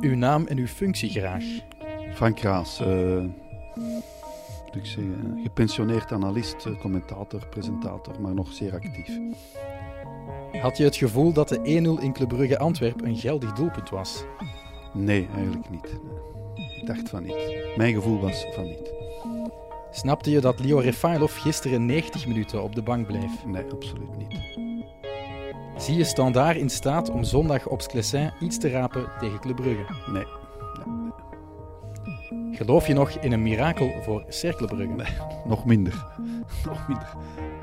Uw naam en uw functie graag. Frank Raas, eh, moet ik zeggen, eh, gepensioneerd analist, eh, commentator, presentator, maar nog zeer actief. Had je het gevoel dat de 1-0 in Club Brugge Antwerpen een geldig doelpunt was? Nee, eigenlijk niet. Nee. Ik dacht van niet. Mijn gevoel was van niet. Snapte je dat Leo Refailov gisteren 90 minuten op de bank bleef? Nee, absoluut niet. Zie je Standaard in staat om zondag op Sclessin iets te rapen tegen Club Brugge? Nee, Geloof je nog in een mirakel voor Cercle Brugge? Nee. nog minder. nog minder.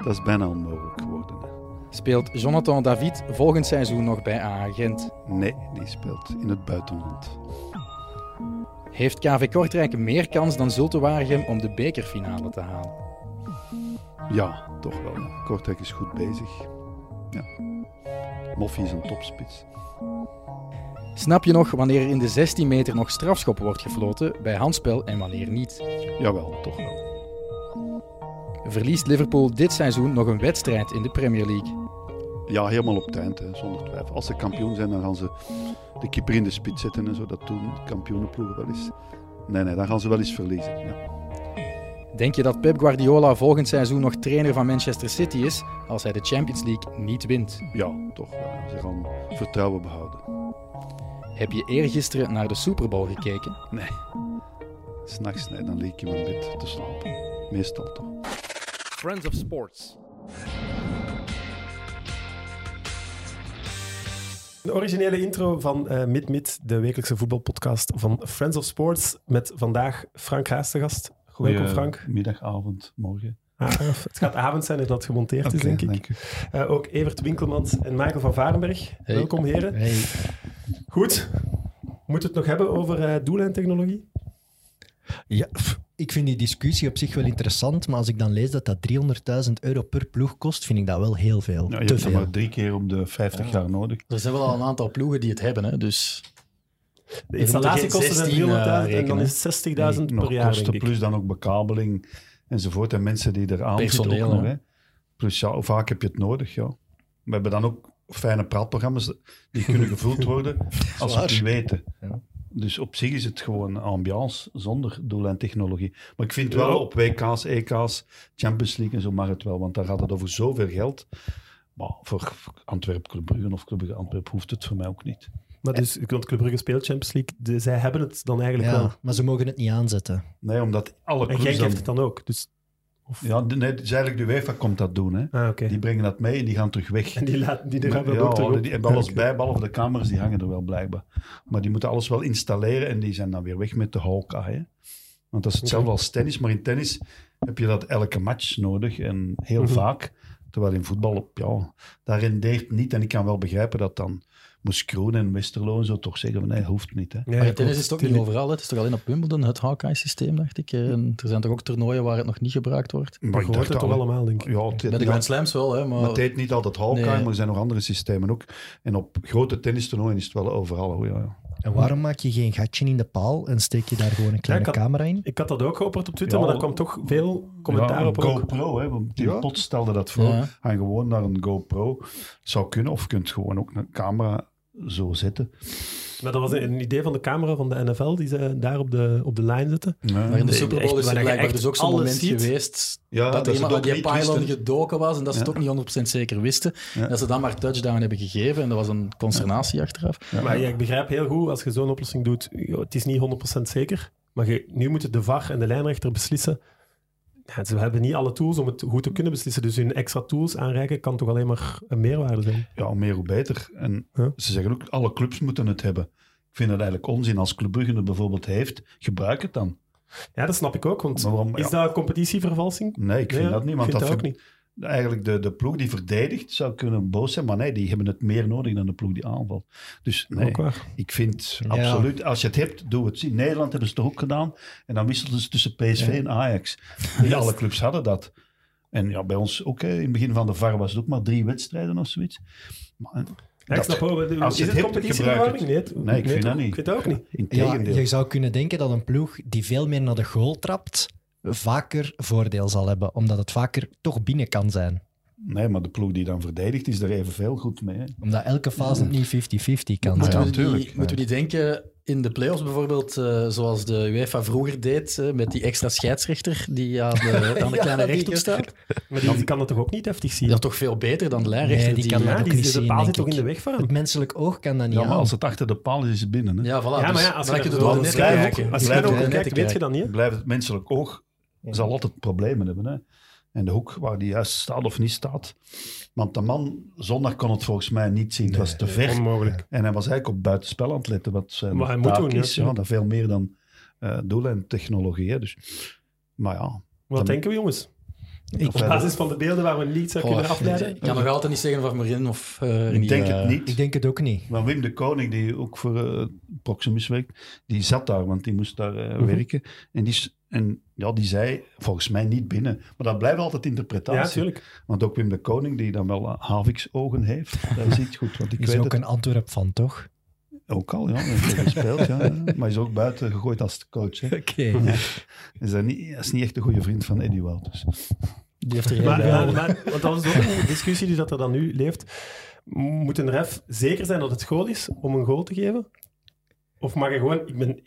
Dat is bijna onmogelijk geworden. hè. Speelt Jonathan David volgend seizoen nog bij AA Gent? Nee, die speelt in het buitenland. Heeft KV Kortrijk meer kans dan Zulte Waregem om de bekerfinale te halen? Ja, toch wel. ja. Kortrijk is goed bezig. Ja. Moffie is een topspits. Snap je nog wanneer er in de 16 meter nog strafschop wordt gefloten bij handspel en wanneer niet? Jawel, toch wel. Verliest Liverpool dit seizoen nog een wedstrijd in de Premier League? Ja, helemaal op het eind, hè, zonder twijfel. Als ze kampioen zijn, dan gaan ze de keeper in de spits zetten en zo. Dat doen kampioenenploegen wel eens. Nee, nee, dan gaan ze wel eens verliezen. Ja. Denk je dat Pep Guardiola volgend seizoen nog trainer van Manchester City is als hij de Champions League niet wint? ja, toch wel. Ze gaan vertrouwen behouden. Heb je eergisteren naar de Super Bowl gekeken? Nee. S'nachts, nee, dan lig ik in mijn bed te slapen. Meestal toch. Friends of Sports. De originele intro van eh Mid Mid, de wekelijkse voetbalpodcast van Friends of Sports, met vandaag Frank Haas te gast. Welkom Frank. Middag, avond, morgen. Ah, het gaat avond zijn en dat het gemonteerd is, denk ik. dank u. Eh, ook Evert Winkelmans en Michael van Varenberg. Welkom heren. Goed. Moeten we het nog hebben over eh doelen en technologie? Ja, pff, ik vind die discussie op zich wel interessant, maar als ik dan lees dat dat 300.000 euro per ploeg kost, vind ik dat wel heel veel. Nou, je hebt Te nog veel. maar drie keer om de 50 jaar nodig. Er zijn wel al een aantal ploegen die het hebben, hè? dus De geen installatiekosten zijn 16, 300.000 eh, en dan rekenen. is het 60.000 per Nog jaar, denk kosten, ik. plus dan ook bekabeling enzovoort. En mensen die er aan Personeel, ook nog. hè. Hè. Plus ja, hoe vaak heb je het nodig? Ja. We hebben dan ook fijne praatprogramma's die kunnen gevuld worden als we het niet weten. Dus op zich is het gewoon ambiance zonder doel en technologie. Maar ik vind wel op WK's, EK's, Champions League en zo mag het wel, want daar gaat het over zoveel geld. Maar voor Antwerp, Club Brugge of Club Brugge Antwerp hoeft het voor mij ook niet. Maar dus, want Club Brugge speelt Champions League, de- zij hebben het dan eigenlijk wel. Ja, maar ze mogen het niet aanzetten. Nee, omdat alle En clubs Genk dan- heeft het dan ook. Dus, Ja, de- nee, het is eigenlijk de UEFA komt dat doen. Hè. ah, oké. Die brengen dat mee en die gaan terug weg. En die, laten, die Maar- hebben ja, dat ook terug hoor, op. die hebben alles Oké. bij, behalve de camera's, die hangen er wel blijkbaar. Maar die moeten alles wel installeren en die zijn dan weer weg met de Hawkeye. hè. Want dat is hetzelfde als tennis, maar in tennis heb je dat elke match nodig en heel Mhm. vaak. Terwijl in voetbal, op, ja, dat rendeert niet. En ik kan wel begrijpen dat dan moest Kroon en Westerlo en zo toch zeggen van nee, dat hoeft niet. Hè. Ja, Maar ja, tennis klopt. is het ook niet overal. hè. Het is toch alleen op Wimbledon, het Hawkeye-systeem, dacht ik. En er zijn toch ook toernooien waar het nog niet gebruikt wordt? Maar Maar ik je hoort dacht het toch al- allemaal, denk ik. Ja, het- Bij de ja, Grand Slams wel, hè, maar... Maar het heet niet altijd Hawkeye, Nee. maar er zijn nog andere systemen ook. En op grote tennistoernooien is het wel overal. hoor, ja, ja. En waarom maak je geen gatje in de paal en steek je daar gewoon een kleine kan- camera in? Ik had dat ook geopperd op Twitter, Ja, maar daar kwam toch veel commentaar Ja, op. een ook. GoPro, hè, want die Ja. pot stelde dat voor. Ja. Ga je gewoon naar een GoPro. Zou kunnen, of je kunt gewoon ook een camera zo zetten. Maar dat was een, een idee van de camera van de NFL, die ze daar op de, op de lijn zetten. Maar in de Nee, Super Bowl echt, is waar er je blijkbaar echt dus ook zo'n alles moment ziet. geweest Ja, dat er Ah, ze iemand aan ook die niet pylon wisten. gedoken was en dat ze Ja. het ook niet 100% zeker wisten. Ja. Dat ze dan maar touchdown hebben gegeven en dat was een consternatie achteraf. Maar ja, ik begrijp heel goed, als je zo'n oplossing doet, joh, het is niet 100% zeker. Maar je, nu moeten de VAR en de lijnrechter beslissen. Ja, ze hebben niet alle tools om het goed te kunnen beslissen. Dus hun extra tools aanreiken kan toch alleen maar een meerwaarde zijn. Ja, hoe meer hoe beter. En Ja. ze zeggen ook, alle clubs moeten het hebben. Ik vind het eigenlijk onzin. Als Club Brugge het bijvoorbeeld heeft, gebruik het dan. Ja, dat snap ik ook. Want Maar waarom- is ja. dat een competitievervalsing? Nee, ik vind Nee, dat niet. Want ik vind dat dat ook vind- Eigenlijk de, de ploeg die verdedigt zou kunnen boos zijn, maar nee, die hebben het meer nodig dan de ploeg die aanvalt. Dus nee, Ook waar. Ik vind Ja. absoluut, als je het hebt, doe het. In Nederland hebben ze het toch ook gedaan. En dan wisselden ze tussen PSV en Ajax. Niet alle clubs hadden dat. En ja, bij ons ook, hè, in het begin van de VAR was het ook maar drie wedstrijden of zoiets. Maar, Ja, ik dat- snap wel. als Is je het het hebt, competitievervalsing? Nee, gebruik het- Nee, ik vind dat toch? niet. Ik vind dat ook niet. Ja, Integendeel. je zou kunnen denken dat een ploeg die veel meer naar de goal trapt, vaker voordeel zal hebben, omdat het vaker toch binnen kan zijn. Nee, maar de ploeg die dan verdedigt is er evenveel goed mee. hè. Omdat elke fase niet 50-50 kan Moeten, zijn. ja, we die, tuurlijk. moeten we die denken in de play-offs bijvoorbeeld, eh, zoals de UEFA vroeger deed, eh, met die extra scheidsrechter die aan de, aan de Ja, kleine die rechthoek ook. staat. Maar die, die kan dat toch ook niet heftig zien? Dat is toch veel beter dan de lijnrechter. Nee, die kan ja, dat ook die, niet die, de zien, paal zit denk toch in ik. de weg van hem? Het menselijk oog kan dat niet Ja, maar aan. als het achter de paal is, is het binnen. Hè? Ja, voilà. Ja, maar ja, dus als dan je heb je er het door door de een net schuin- kijken. Als je Blijft er ook hij op net kijkt, weet je dat niet. hè? Blijft het menselijk oog, zal altijd problemen hebben. Hè? En de hoek waar die juist staat of niet staat. Want de man zondag kon het volgens mij niet zien. Het was te ver. Onmogelijk. En hij was eigenlijk op buitenspel aan het letten, wat zijn Wat hij moet taak doen, ja. is. Ja, dat veel meer dan eh doel en technologie. Hè. Dus, maar ja, Wat denken we, jongens? ik, Op basis van de beelden waar we niet zou Oh, kunnen afleiden. Ik kan nog altijd niet zeggen of Marin of eh ik denk het Ik niet. denk het ook niet. Maar Wim de Koning, die ook voor eh, Proximus werkt, die zat daar, want die moest daar eh, Mhm. werken. En, die, s- en ja, die zei volgens mij niet binnen. Maar dat blijft altijd Ja, interpretatie. natuurlijk. want ook Wim de Koning, die dan wel Havix-ogen heeft, dat ziet goed. Want ik Er is weet ook het een Antwerp van, toch? ook al, ja. Hij heeft er gespeeld, ja. Maar hij is ook buiten gegooid als coach. Hè. Oké. Hij is, daar niet, hij is niet echt een goede vriend van Eddie Wouters. Die heeft er geen Maar, bij. ja, maar, want dat is ook een discussie die dat er dan nu leeft. Moet een ref zeker zijn dat het goal is om een goal te geven? Of mag hij gewoon, ik ben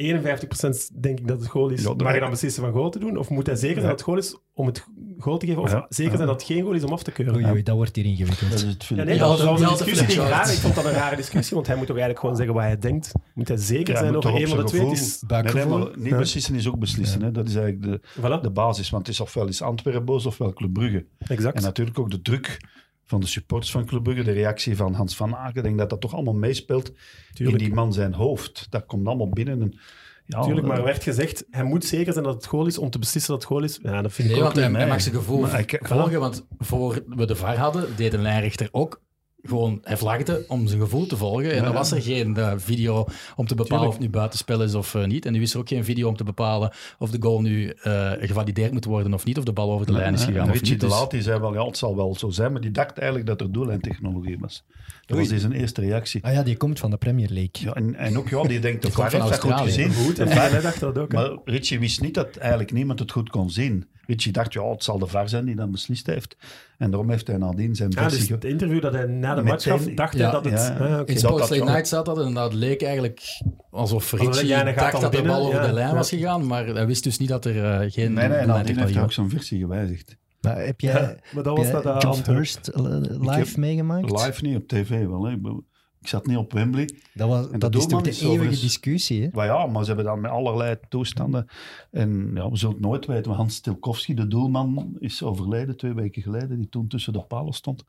51% denk ik dat het goal is, Ja, dat- mag hij dan beslissen van goal te doen? Of moet hij zeker zijn Ja. dat het goal is om het goal te geven? Of Ja. zeker zijn dat het geen goal is om af te keuren? Oei, oei, dat wordt hier Dat is Eh, ingewikkeld. het Ja, filmpje. nee, Ja, dat was dat- een dat discussie die ik vind ik raar. wel. Ik vond dat een rare discussie, want hij moet toch eigenlijk gewoon zeggen wat hij denkt. Moet hij zeker Ja, zijn moet over toch één op van de zijn twee? Het gevoel. is- Nee, nee, Buikgevoel. maar niet beslissen is ook beslissen. Hè. Dat is eigenlijk de, de Voilà, basis. Want het is ofwel is Antwerpen boos, ofwel Club Brugge. En exact. natuurlijk ook de druk van de supporters van Club Brugge. De reactie van Hans van Aken. Ik denk dat dat toch allemaal meespeelt Tuurlijk. in die man zijn hoofd. Dat komt allemaal binnen. En, ja, eh, Tuurlijk, dat- maar er werd gezegd, hij moet zeker zijn dat het goal is om te beslissen dat het goal is. Ja, dat vind Nee, ik ook want hij, niet hij mee. mag zijn gevoel Maar ik- volgen. Want voor we de VAR hadden, deed een lijnrechter ook gewoon... Hij vlagde om zijn gevoel te volgen. En Ja, dan ja. was er geen eh, video om te bepalen Tuurlijk. of het nu buitenspel is of eh, niet. En nu is er ook geen video om te bepalen of de goal nu eh, gevalideerd moet worden of niet. Of de bal over de lijn is hè. gegaan of Richie niet. de Dus- Laat die zei wel, ja, het zal wel zo zijn. Maar die dacht eigenlijk dat er doel en technologie was. Dat was zijn eerste reactie. Ah ja, die komt van de Premier League. Ja, en, en ook, ja, die denkt, de Die komt VAR heeft van dat goed Australië. gezien. goed. En De VAR hij dacht dat ook. hè. Maar Richie wist niet dat eigenlijk niemand het goed kon zien. Richie dacht, ja, het zal de VAR zijn die dat beslist heeft. En daarom heeft hij nadien zijn Ja, versie... dus ge- het interview dat hij na de Meteen- match gaf, dacht Ja, hij dat het... ja. Ah, oké. In Dat Sports dat Late wel- Night zat dat en dat leek eigenlijk alsof hij- Richie ja, hij gaat dacht dan dat de binnen, bal over ja. de lijn was Ja. gegaan, maar hij wist dus niet dat er eh, geen Nee, nee, en nadien heeft doellijntechnologie hij ook was. zijn versie gewijzigd. Maar heb Ja, jij maar dat was heb dat jij eh, John antwoord. Hurst eh, live heb meegemaakt? Live niet, op tv wel. Hè. Ik bedoel, Ik zat niet op Wembley. Dat, was, de dat is toch doelman de is eeuwige overigens- discussie, hè? Maar ja, maar ze hebben dan met allerlei toestanden... En ja, we zullen het nooit weten. Maar Hans Tilkowski, de doelman, is overleden twee weken geleden. Die toen tussen de palen stond.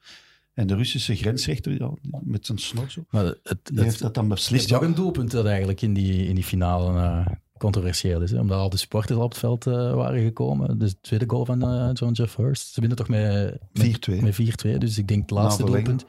En de Russische grensrechter, ja, met zijn snor zo, Maar het, het, die heeft dat dan het beslist. is ook een doelpunt dat eigenlijk in die, in die finale eh, controversieel is. Hè? Omdat al de sporters al op het veld eh, waren gekomen. Dus de tweede goal van eh, John Jeff Hurst. Ze winnen toch met, met, 4-2. met 4-2. Dus ik denk het laatste Na verlenging. doelpunt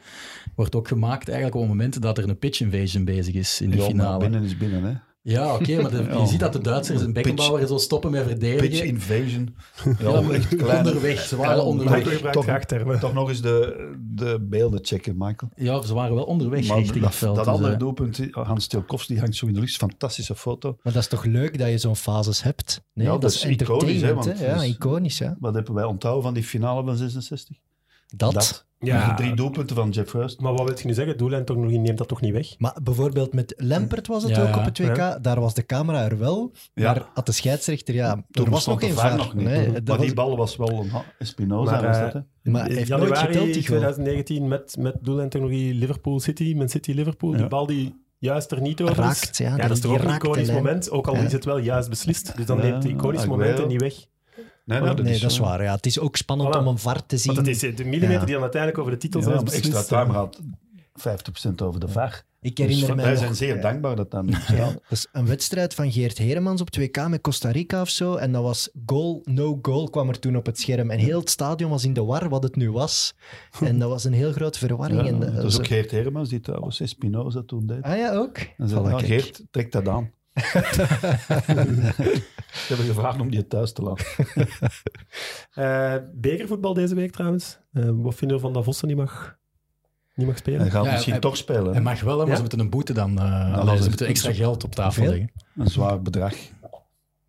wordt ook gemaakt eigenlijk op het moment dat er een pitch invasion bezig is in de Ja, maar finale. binnen is binnen, hè. Ja, oké, maar de- Ja. je ziet dat de Duitsers en Pitch- Beckenbauer zo stoppen met verdedigen. Pitch invasion. Ja, Ja, echt kleine- onderweg. Ze waren onderweg. Maar gebruikt Toch- graagtermen. Toch nog eens de, de beelden checken, Michael. Ja, ze waren wel onderweg Maar richting dat, het veld. dat dus, andere eh, doelpunt, Hans Tilkowski, die hangt zo in de lucht. Fantastische foto. Maar dat is toch leuk dat je zo'n fases hebt? Nee, Ja, dat, dat is is iconisch, hè, entertainment, hè? want Ja, dat is- iconisch, ja. Wat hebben wij onthouden van die finale van 66? Dat. Ja. De drie doelpunten van Jeff Hurst. Maar wat wil je nu zeggen? Doelijn toch nog niet, neemt dat toch niet weg? Maar bijvoorbeeld met Lampert was het Ja, ook ja. op het WK. Daar was de camera er wel, Ja. maar had de scheidsrechter... Ja, Toen er was bestond nog geen de VAR VAR. nog niet. Nee, maar dat was- die bal was wel een ha- Espinoza. Maar, was eh, dat, hè? maar hij heeft nooit Januari geteld, die goal. 2019 met, met doellijntechnologie Liverpool City, Man City Liverpool. Die Ja. bal die juist er niet over is. Raakt, ja. Ja, dat is toch die ook een raakt de iconisch lijn. moment, ook al Ja. is het wel juist beslist. Dus dan Ja, neemt het iconisch Aguero. moment er niet weg. Nee, oh, Nee, nee, dat, is, eh, waar. Ja. Het is ook spannend Voilà. om een VAR te zien. Want dat is de millimeter Ja. die dan uiteindelijk over de titel Ja, zelfs maar beslist. extra time gaat 50% over de VAR. ik Dus herinner mij wij nog- zijn zeer ja. dankbaar dat dat nu bestaat. Dat is een wedstrijd van Geert Heremans op 2K met Costa Rica of zo. En dat was goal, no goal kwam er toen op het scherm. En heel het stadion was in de war wat het nu was. En dat was een heel grote verwarring. Ja, en, eh, dat is zo- ook Geert Hermans die trouwens Espinoza toen deed. Ah ja, ook? En zei, Voilà, nou, kijk. Geert, trek dat aan. Ze hebben gevraagd om die thuis te laten. Eh, bekervoetbal deze week trouwens. Eh, wat vinden we van dat Vossen die mag, niet mag spelen? Hij gaat Ja, misschien hij- toch spelen. Hij mag wel, hè, maar Ja. ze moeten een boete dan... eh, dat allee, is ze het. moeten extra geld op tafel Hoeveel? leggen. Een zwaar bedrag.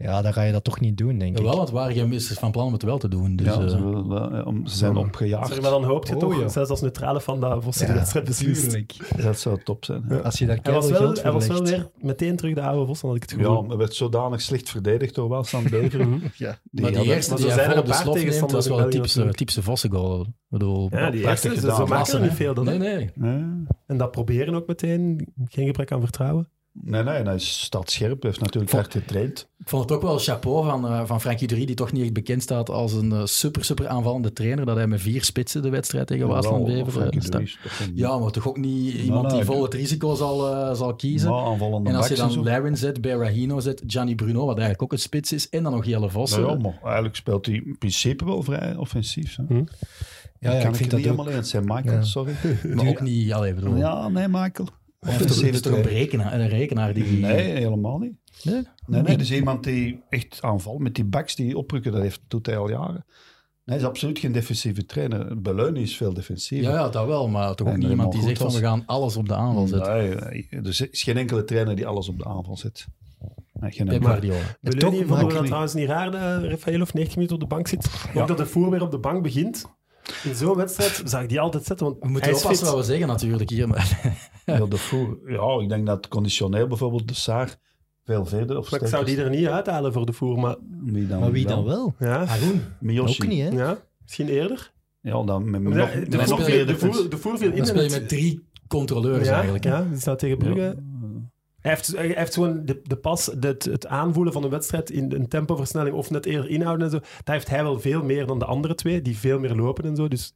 Ja, dan ga je dat toch niet doen, denk Wel, ik. want waren je is van plan om het wel te doen. Dus, ja, eh, ze, willen dat, eh, om- ze zijn opgejaagd. Zeg, maar dan hoop je Oh, toch, ja. zelfs als neutrale van dat voor de Ja, wedstrijd beslist. Dat zou top zijn. hè. Als je daar Hij was, keihard wel, geld hij voor was wel legt. weer meteen terug de oude Vos, dan had ik het Ja, gevoel. maar werd zodanig slecht verdedigd door Waalstan Beveren. Ja. Die maar die hadden- eerste maar die zo hij zijn er vol op een de paar slof neemt, dat is tegenstanders wel een in België typische, natuurlijk. typische Vossengoal. Ik bedoel, Ja, die prachtig eerste, ze, ze gedaan. maken Klasse, er niet hè? veel dan. hè. Nee, nee. Nee, En dat proberen ook meteen, geen gebrek aan vertrouwen. nee, nee, hij staat scherp. Hij heeft natuurlijk Vol- hard getraind. Ik vond het ook wel chapeau van, eh, van Frankie Durie, die toch niet echt bekend staat als een eh, super, super aanvallende trainer, dat hij met vier spitsen de wedstrijd tegen Waasland Beveren eh, stapt. Ja, Ja, maar toch ook niet iemand nee, die ik- vol het risico zal, eh, zal kiezen. maar aanvallende en als je backs en dan zo. Laren zet, Berahino zet, Gianni Bruno, wat eigenlijk ook een spits is, en dan nog Jelle Vossen. Nou ja, maar eigenlijk speelt hij in principe wel vrij offensief. Hè. Ja, ja, kan ik het ik vind dat niet ook. helemaal eens zijn, Michael, Ja. sorry. maar ook niet, allee, bedoel, ja, Ja, nee, Michael. het Offensief is toch een rekenaar, een rekenaar die... Nee, helemaal niet. Nee? Nee, nee, dus iemand die echt aanvalt met die backs die oprukken, dat heeft, doet hij al jaren. Hij is absoluut geen defensieve trainer. Beleuni is veel defensiever. Ja, ja, dat wel, maar toch ook En niet helemaal iemand die goed zegt van was. Mm, we gaan alles op de aanval zetten. Nee, er is geen enkele trainer die alles op de aanval zet. Nee, geen Pep enkele. Guardiola. En Beluni toch vonden maak we ik dat niet. trouwens niet raar, dat Rafael of 90 minuten op de bank zit. Ook dat de voer weer op de bank begint. In zo'n wedstrijd zag ik die altijd zetten, want We moeten hij is oppassen fit. wat we zeggen natuurlijk hier. maar- Ja, de voer, ja, ik denk dat conditioneel bijvoorbeeld de Saar veel verder of Maar ik zou die er niet uithalen voor de voer, maar Wie dan Maar wie dan wel? ja. Miyoshi. Ook niet, hè? ja misschien eerder. Ja, dan met, Ja, nog, de, met nog voer, meer de, defensie. voer, de voer viel in. Dan en speel je het- met drie controleurs ja, eigenlijk. hè. Ja, die staat tegen Brugge. Hij, heeft, hij heeft gewoon de, de pas, de, het- het aanvoelen van een wedstrijd in een tempoversnelling of net eerder inhouden en zo. Daar heeft hij wel veel meer dan de andere twee, die veel meer lopen en zo. Dus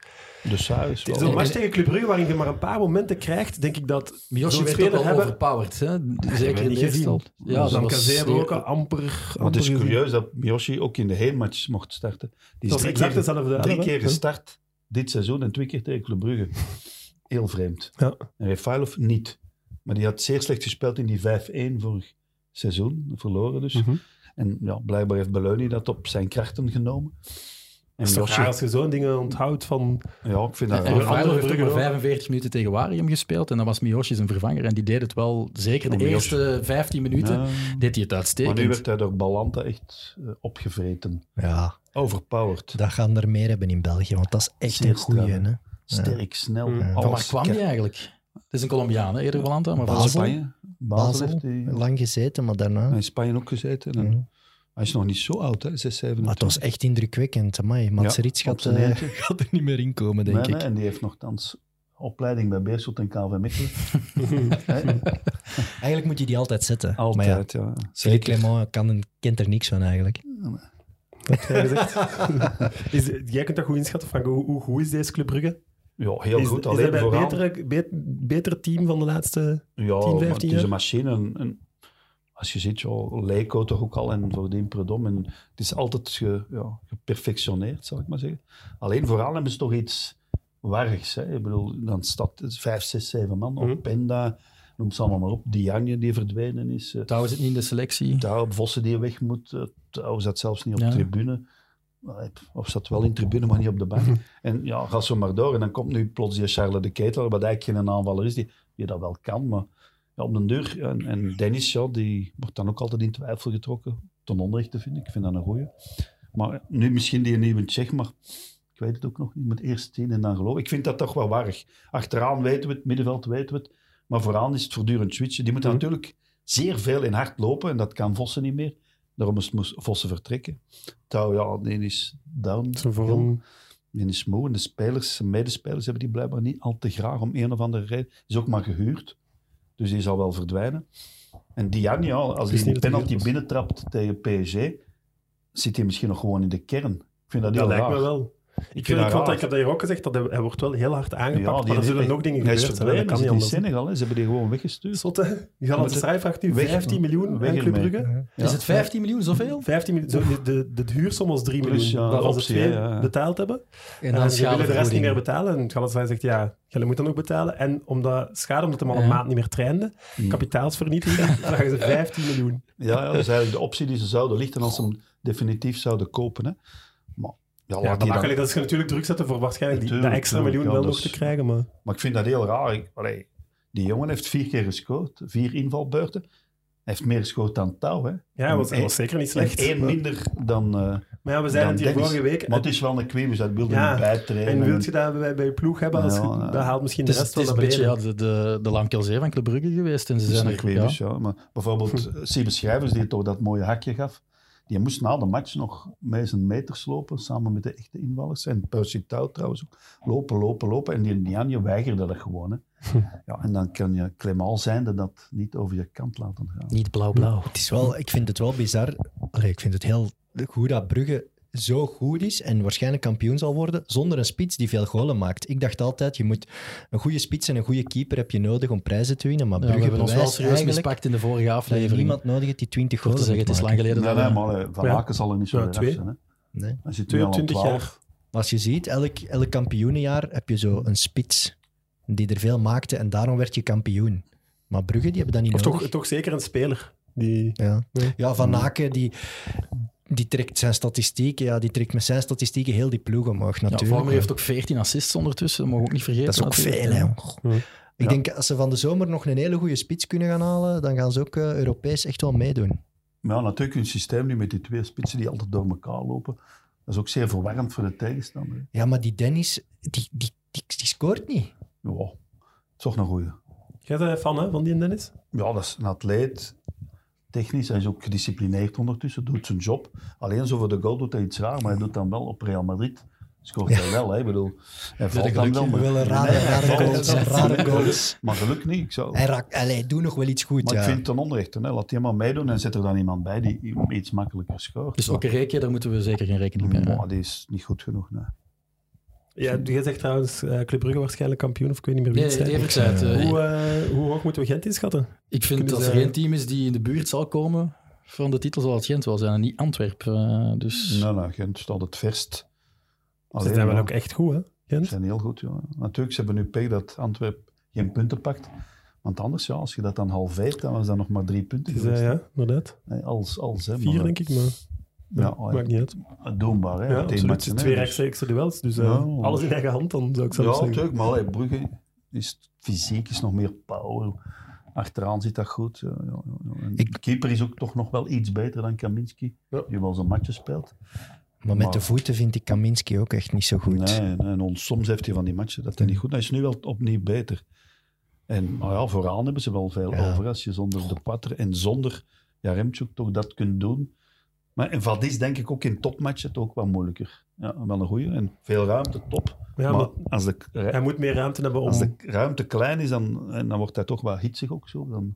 De Saar is wel... zo'n match tegen Club Brugge, waarin je maar een paar momenten krijgt, denk ik dat Miyoshi zo'n werd ook speler wel hebben... overpowered, hè? ik zeker in niet de eerste gezien. helft. Ja, dat dan was Kazee hebben we ook zeer- al amper... Maar het is amper- curieus dat Miyoshi ook in de heenmatch mocht starten. Die Dat is is drie exact keer, hetzelfde. drie hè? keer Ja. gestart dit seizoen en twee keer tegen Club Brugge. Heel vreemd. Ja. En Refailov niet. Maar die had zeer slecht gespeeld in die 5-1 vorig seizoen. Verloren dus. Mhm. En ja, blijkbaar heeft Belloni dat op zijn krachten genomen. En Het is toch Miyoshi- raar als je zo'n dingen onthoudt van... ja, ik vind dat En raar. Rafael heeft ook Brugge maar ook. 45 minuten tegen Warium gespeeld. En dat was Miyoshi zijn vervanger. En die deed het wel, zeker de Oh, Miyoshi. eerste 15 minuten, Ja. deed hij het Maar nu uitstekend. werd hij door Balanta echt eh, opgevreten. Ja, Overpowered. dat gaan er meer hebben in België, want dat is echt Zeer een goeie, sterk. hè? Sterk, snel. alles. Ja. Van waar kwam die eigenlijk? Het is een Colombiaan, hè? eerder Volanta, maar Basel. van Spanje. Spanje. Basel Basel, heeft hij lang gezeten, maar daarna... in Spanje ook gezeten. En Ja. Hij is nog niet zo oud, hè? 6, 7. Mm-hmm. Maar het was echt indrukwekkend. Amai, Matsrits gaat, eh, gaat er niet meer in komen, denk ik. En die heeft nogthans opleiding bij Beerschot en KV Mechelen. Hè? Eigenlijk moet je die altijd zetten. Maar ja, Altijd, ja. Philippe Clement kan, kent er niks van eigenlijk. Is, jij kunt dat goed inschatten, Frank. Hoe, hoe goed is deze Club Brugge? Ja, heel is, goed. Is dat Alleen bij het vooraan... betere, bet- betere team van de laatste... Ja, 10, maar 15 het is jaar? een machine. En, en als je ziet, ja, Leiko toch ook al en voordien Predom. En het is altijd ge- ja, geperfectioneerd, zal ik maar zeggen. Alleen vooral hebben ze toch iets warrigs. Hè? Ik bedoel, dan staat het vijf, zes, zeven man op. Mhm. Penda, noem ze allemaal maar op. Diagne die verdwenen is. eh, Trouwens, zit niet in de selectie. Daar, Vossen die weg moet. eh, Trouwens, zat zelfs niet op Ja. tribune. Eh, Of zat wel in tribune, maar niet op de bank. en ja, ga zo maar door. En dan komt nu plots die Charles de Ketel, wat eigenlijk geen aanvaller is, die, die dat wel kan. Maar ja, op den duur. En, en Dennis, ja, die wordt dan ook altijd in twijfel getrokken. Ten onrechte vind ik. Ik vind dat een goeie. Maar ja, nu misschien die nieuwe Tsjech, maar ik weet het ook nog niet. Je moet eerst zien en dan geloven. Ik vind dat toch wel warrig. Achteraan weten we het, middenveld weten we het. Maar vooraan is het voortdurend switchen. Die moeten Mhm. natuurlijk zeer veel in hard lopen en dat kan Vossen niet meer. Daarom moest moest Vossen vertrekken. Trouw, ja, die is down. Zo voor een- Die is moe. En de spelers, zijn medespelers hebben die blijkbaar niet al te graag om een of andere reden. Is ook maar gehuurd. Dus die zal wel verdwijnen. En Diane, ja, als is hij die niet dus. dat hij penalty was. binnentrapt tegen PSG, zit hij misschien nog gewoon in de kern. Ik vind dat heel Dat lijkt raar. me wel. Ik, vind, dat ik, vond, raar. dat- ik heb dat hier ook gezegd, dat hij, hij wordt wel heel hard aangepakt, Ja, maar er zullen die- nog dingen Hij gebeuren. is zijn, hè. verdwenen. Dat Dat kan niet in anders. Senegal. Hè. Ze hebben die gewoon weggestuurd. Zot, hè? Galatasaray vraagt nu Weg- 15 miljoen aan weg Club ermee. Brugge. Ja. Is het 15 miljoen, zoveel? 15 miljoen. De, de, de huursom was 3 Plus, miljoen. ja, waarvan optie, ze twee hè, ja. betaald hebben. En En dan dan ze willen de rest niet meer schadevergoeding. betalen. En Galatasaray zegt, ja, jullie moeten nog betalen. En omdat schade, omdat hem al een Ja. maand niet meer trainde, Hmm. kapitaalsvernietiging, vragen ze 15 miljoen. Ja, ja, dat is eigenlijk de optie die ze zouden lichten als ze hem definitief zouden kopen. Hè. Maar, ja, Ja, laat die dan- makkelijk dat ze natuurlijk druk zetten voor waarschijnlijk die, dat Tuurlijk, extra tuurlijk, miljoen ja, wel nog dus- te krijgen. Maar Maar ik vind dat heel raar. Ik- allee, die jongen heeft vier keer gescoord, vier invalbeurten. En heeft meer gescoord dan Touw. Hè? Ja, hij was, hij was zeker niet slecht. En één Maar- minder dan. eh Maar ja, we zeiden dan het hier Dennis. vorige week. maar het is wel een kweem, dus dat wilde Ja, niet bijtrainen. En wil je dat bij, bij je ploeg hebben? Als je- Ja, ja. dat haalt misschien Het de is, rest Dus het wel is naar een beetje beneden. ja, de, de, de Lamkelzee van Club Brugge geweest. En ze Dat is zijn een er, kweem, ja, dus, ja. Maar bijvoorbeeld eh, Siebe Schrijvers, die toch dat mooie hakje gaf, die moest na de match nog mee zijn meters lopen, samen met de echte invallers. En Percy Touw trouwens ook. Lopen, lopen, lopen. En die Nianje weigerde dat gewoon. Hè. Ja, en dan kan je klemal zijnde dat niet over je kant laten gaan. niet blauw-blauw. Het is wel, ik vind het wel bizar. Allee, ik vind het heel goed dat Brugge zo goed is en waarschijnlijk kampioen zal worden zonder een spits die veel golen maakt. Ik dacht altijd, je moet een goede spits en een goede keeper heb je nodig om prijzen te winnen, maar Ja, Brugge we hebben ons wel bewijst serieus eigenlijk mispakt in de vorige dat je aflevering. niemand nodig hebt die 20 Voor golen te zeggen, het is moet lang maken. geleden Nee, dat nee, we- maar eh, Van Ja. Aken zal er niet zo Ja, erg twee. zijn. Hè. Nee. Hij zit nu al aan 22 12. jaar. Maar als je ziet, elk, elk kampioenenjaar heb je zo een spits die er veel maakte en daarom werd je kampioen. Maar Brugge, die hebben dat niet Of nodig. toch, toch zeker een speler. Die... Ja, Nee. ja Van Aken, die, die trekt zijn statistieken, ja, die trekt met zijn statistieken heel die ploeg omhoog Ja, natuurlijk. Vormer heeft ook 14 assists ondertussen, dat mogen we ook niet vergeten. dat is ook natuurlijk. veel, hè. Ja. Ik denk, als ze van de zomer nog een hele goede spits kunnen gaan halen, dan gaan ze ook eh, Europees echt wel meedoen. Maar ja, natuurlijk hun systeem nu met die twee spitsen die altijd door elkaar lopen. Dat is ook zeer verwarrend voor de tegenstander. hè. Ja, maar die Dennis, die, die, die, die scoort niet. Ja, het is toch een goeie. Jij bent fan hè, van die Dennis? Ja, dat is een atleet. Technisch, hij is ook gedisciplineerd ondertussen, doet zijn job. Alleen zo voor de goal doet hij iets raar, maar hij doet dan wel op Real Madrid. Scoort hij wel, hè? Ik bedoel, hij valt dan gelukje. wel. Maar, Wel een rare, Nee, hij rare valt. goals. hè. Rare goals. maar geluk niet. Ik zou... Hij raakt, allee, doe nog wel iets goed, Maar ja. ik vind het een onrechte. Hè? Laat die maar meedoen en zet er dan iemand bij die iets makkelijker scoort. Dus ook een reekje, daar moeten we zeker geen rekening mee Maar, houden. maar die is niet goed genoeg. Nee. Ja, jij zegt trouwens eh, Club Brugge waarschijnlijk kampioen, of ik weet niet meer wie Nee, het zijn. eerlijk gezegd, eh, Hoe, eh, hoe hoog moeten we Gent inschatten? ik vind kunnen dat er zeggen- geen team is die in de buurt zal komen van de titel zoals Gent wel zijn en niet Antwerpen. eh, Dus Nee, nee, Gent staat het verst. Ze Alleen, zijn wel ja, ook echt goed, hè? Ze Gent? zijn heel goed, ja. Natuurlijk, ze hebben nu pech dat Antwerpen geen punten pakt. Want anders, ja, als je dat dan halveert, dan was dat nog maar drie punten. Ze geweest. zijn, Dus, eh, ja, inderdaad. Nee, als, als, hè, Vier, maar, denk ik, maar Ja, oh, maakt niet uit. ja, doenbaar, hè. Ja, op absoluut. één match, hè, twee dus- rechtstreekse duels, dus eh, Nou. alles in eigen hand dan, zou ik zelf Ja, zeggen. natuurlijk, maar allee, Brugge is fysiek, is nog meer power. Achteraan zit dat goed. Ja, ja, ja, ja. En Ik- de keeper is ook toch nog wel iets beter dan Kaminski, Ja. die wel zijn matje speelt. Maar met Maar- de voeten vind ik Kaminski ook echt niet zo goed. Nee, nee, en ons, soms heeft hij van die matchen dat hij niet goed Hij is nu wel opnieuw beter. En maar ja, vooraan hebben ze wel veel Ja. over. Als je zonder de patter en zonder Jaremchuk toch dat kunt doen. Maar en Vadis denk ik ook in topmatchen het ook wat moeilijker. Ja, wel een goeie. En veel ruimte, top. Ja, maar maar als de, hij moet meer ruimte hebben om... als de ruimte klein is, dan, en dan wordt hij toch wel hitsig ook zo. Dan,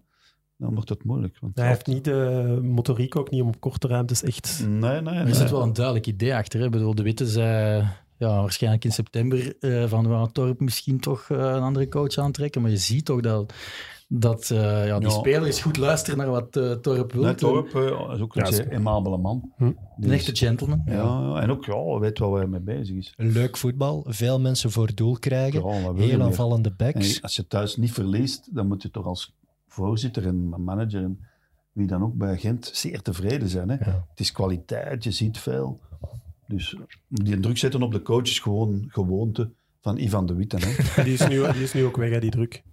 dan wordt het moeilijk. Want Hij heeft niet de motoriek ook niet om op korte ruimtes echt... Nee, nee, nee. er zit wel een duidelijk idee achter. Hè. Ik bedoel, de Witte zei ja, waarschijnlijk in september eh, van we gaan Torp misschien toch eh, een andere coach aantrekken. Maar je ziet toch dat, dat eh, ja, die Ja. speler is goed luisteren naar wat eh, Torp wil. Net Torp eh, is ook een Ja, zeer emabele man. Hm. Die Een is- echte gentleman. ja, ja, en ook, ja, weet wel waar hij mee bezig is. Leuk voetbal, veel mensen voor doel Ja, krijgen, wat wil je heel meer? aanvallende backs. En als je thuis niet verliest, dan moet je toch als voorzitter en manager en wie dan ook bij Gent zeer tevreden zijn. Hè? Ja. Het is kwaliteit, je ziet veel. Dus die druk zetten op de coach is gewoon gewoonte van Ivan de Witten. Hè? Die is, nu, die is nu ook weg, hè, die druk.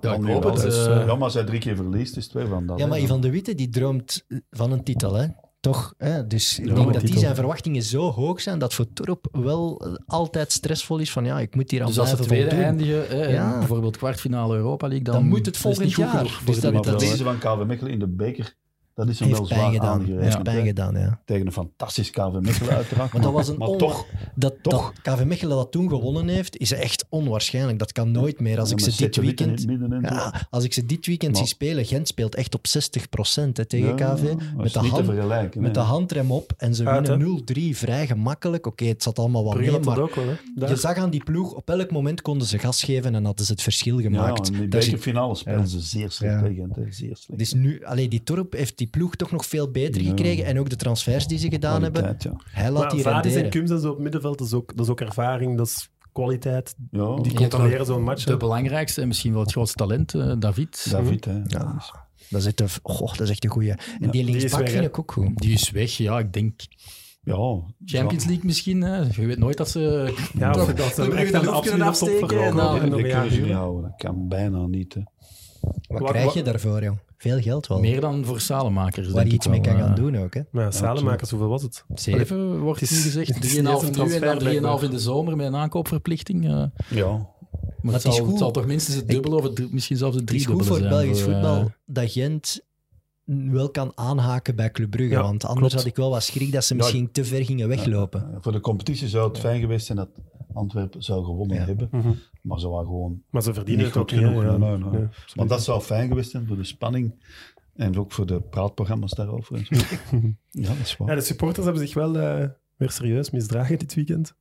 Ja, ik Dan hoop wel, het. eh. dus, ja, maar als hij drie keer verliest, is het twee van dat. Ja, hè. maar Ivan de Witte die droomt van een titel, hè? Toch? Hè? Dus ik Ja, denk een dat die titel. zijn verwachtingen zo hoog zijn dat voor Torp wel eh, altijd stressvol is van ja, ik moet hier aan Dus als ze blijven tweede voldoen. eindigen, hè, en Ja. bijvoorbeeld kwartfinale Europa League, dan, Dan moet het is niet volgend goed jaar. genoeg voor Dus de dat- Maar titel. dat verliezen van KV Mechelen in de beker, dat is hem wel Heeft zwaar pijn gedaan. aangerekend, Heeft pijn hè. gedaan, ja. Tegen een fantastisch KV Mechelen uiteraard. Maar dat was een maar on- toch, Dat, dat Toch? KV Mechelen dat toen gewonnen heeft, is echt onwaarschijnlijk. Dat kan nooit meer. Als ja, ik maar ze dit zet de Witten in weekend... het midden en zo. Ja, als ik ze dit weekend Maar- zie spelen, Gent speelt echt op 60% hè, tegen Ja, KV. dat is Met de, niet te hand, vergelijken. met de nee. handrem op en ze Uit, hè? winnen 0-3 vrij gemakkelijk. Oké, het zat allemaal wel Brugge mee, had maar dat ook wel, hè. Daar. Je zag aan die ploeg, op elk moment konden ze gas geven en hadden ze het verschil gemaakt. Ja, in de Daar zit- bekerfinale spelen Ja. ze zeer slecht Ja. tegen Gent, hè. Zeer slecht. dus nu, allee, die Torp heeft die ploeg toch nog veel beter Ja. gekregen. En ook de transfers die ze gedaan hebben. Kwaliteit, ja. Hij laat Maar die Vadis en renderen. Kums en zo op het middenveld, dat is ook, dat is ook ervaring, dat is kwaliteit. Ja, Die Je hebt controleren zo'n match. De belangrijkste en misschien wel het grootste talent, eh, David. David, hè. Ja. Dat, is echt een, goh, dat is echt een goeie. En Ja, die is linksbak weg, hè? vind ik ook goed. Die is weg, ja, ik denk Ja. Champions Ja. League misschien. Hè. Je weet nooit dat ze... Ja, Toch, of dat ze Brugge hem echt de aan de loef kunnen absolute top afsteken en verkopen. dan- Ja, Dat nog een kunnen jaar ze niet duren. houden. Dat kan bijna niet, hè. Wat Wa- krijg wa- je daarvoor, jong? Veel geld wel. Meer dan voor salenmakers. waar denk je ik iets mee wel, kan eh. gaan doen ook, hè? Maar ja, salenmakers, hoeveel was het? Zeven. Even wordt Het het is- nu het is niet echt een gezegd. 3,5 nu en transfer, dan 3,5 in blijkbaar. de zomer met een aankoopverplichting. eh. Ja, maar het is zal, goed. het zal toch minstens het dubbele of het, drie- misschien zelfs het Het is driedubbele goed voor het zijn. Belgisch eh, voetbal dat Gent wel kan aanhaken bij Club Brugge. Ja, want anders klopt. had ik wel wat schrik dat ze misschien te ver gingen weglopen. Eh, voor de competitie zou het fijn geweest zijn dat Antwerpen zou gewonnen Ja. hebben. Mhm. Maar ze waren gewoon Maar ze verdienen Niet het ook goed niet. hè? genoeg, Ja, nee, nee, nee. nee. Maar dat zou fijn geweest zijn voor de spanning en ook voor de praatprogramma's daarover. En zo. ja, dat is Ja, waar. de supporters hebben zich wel eh, weer serieus misdragen dit weekend.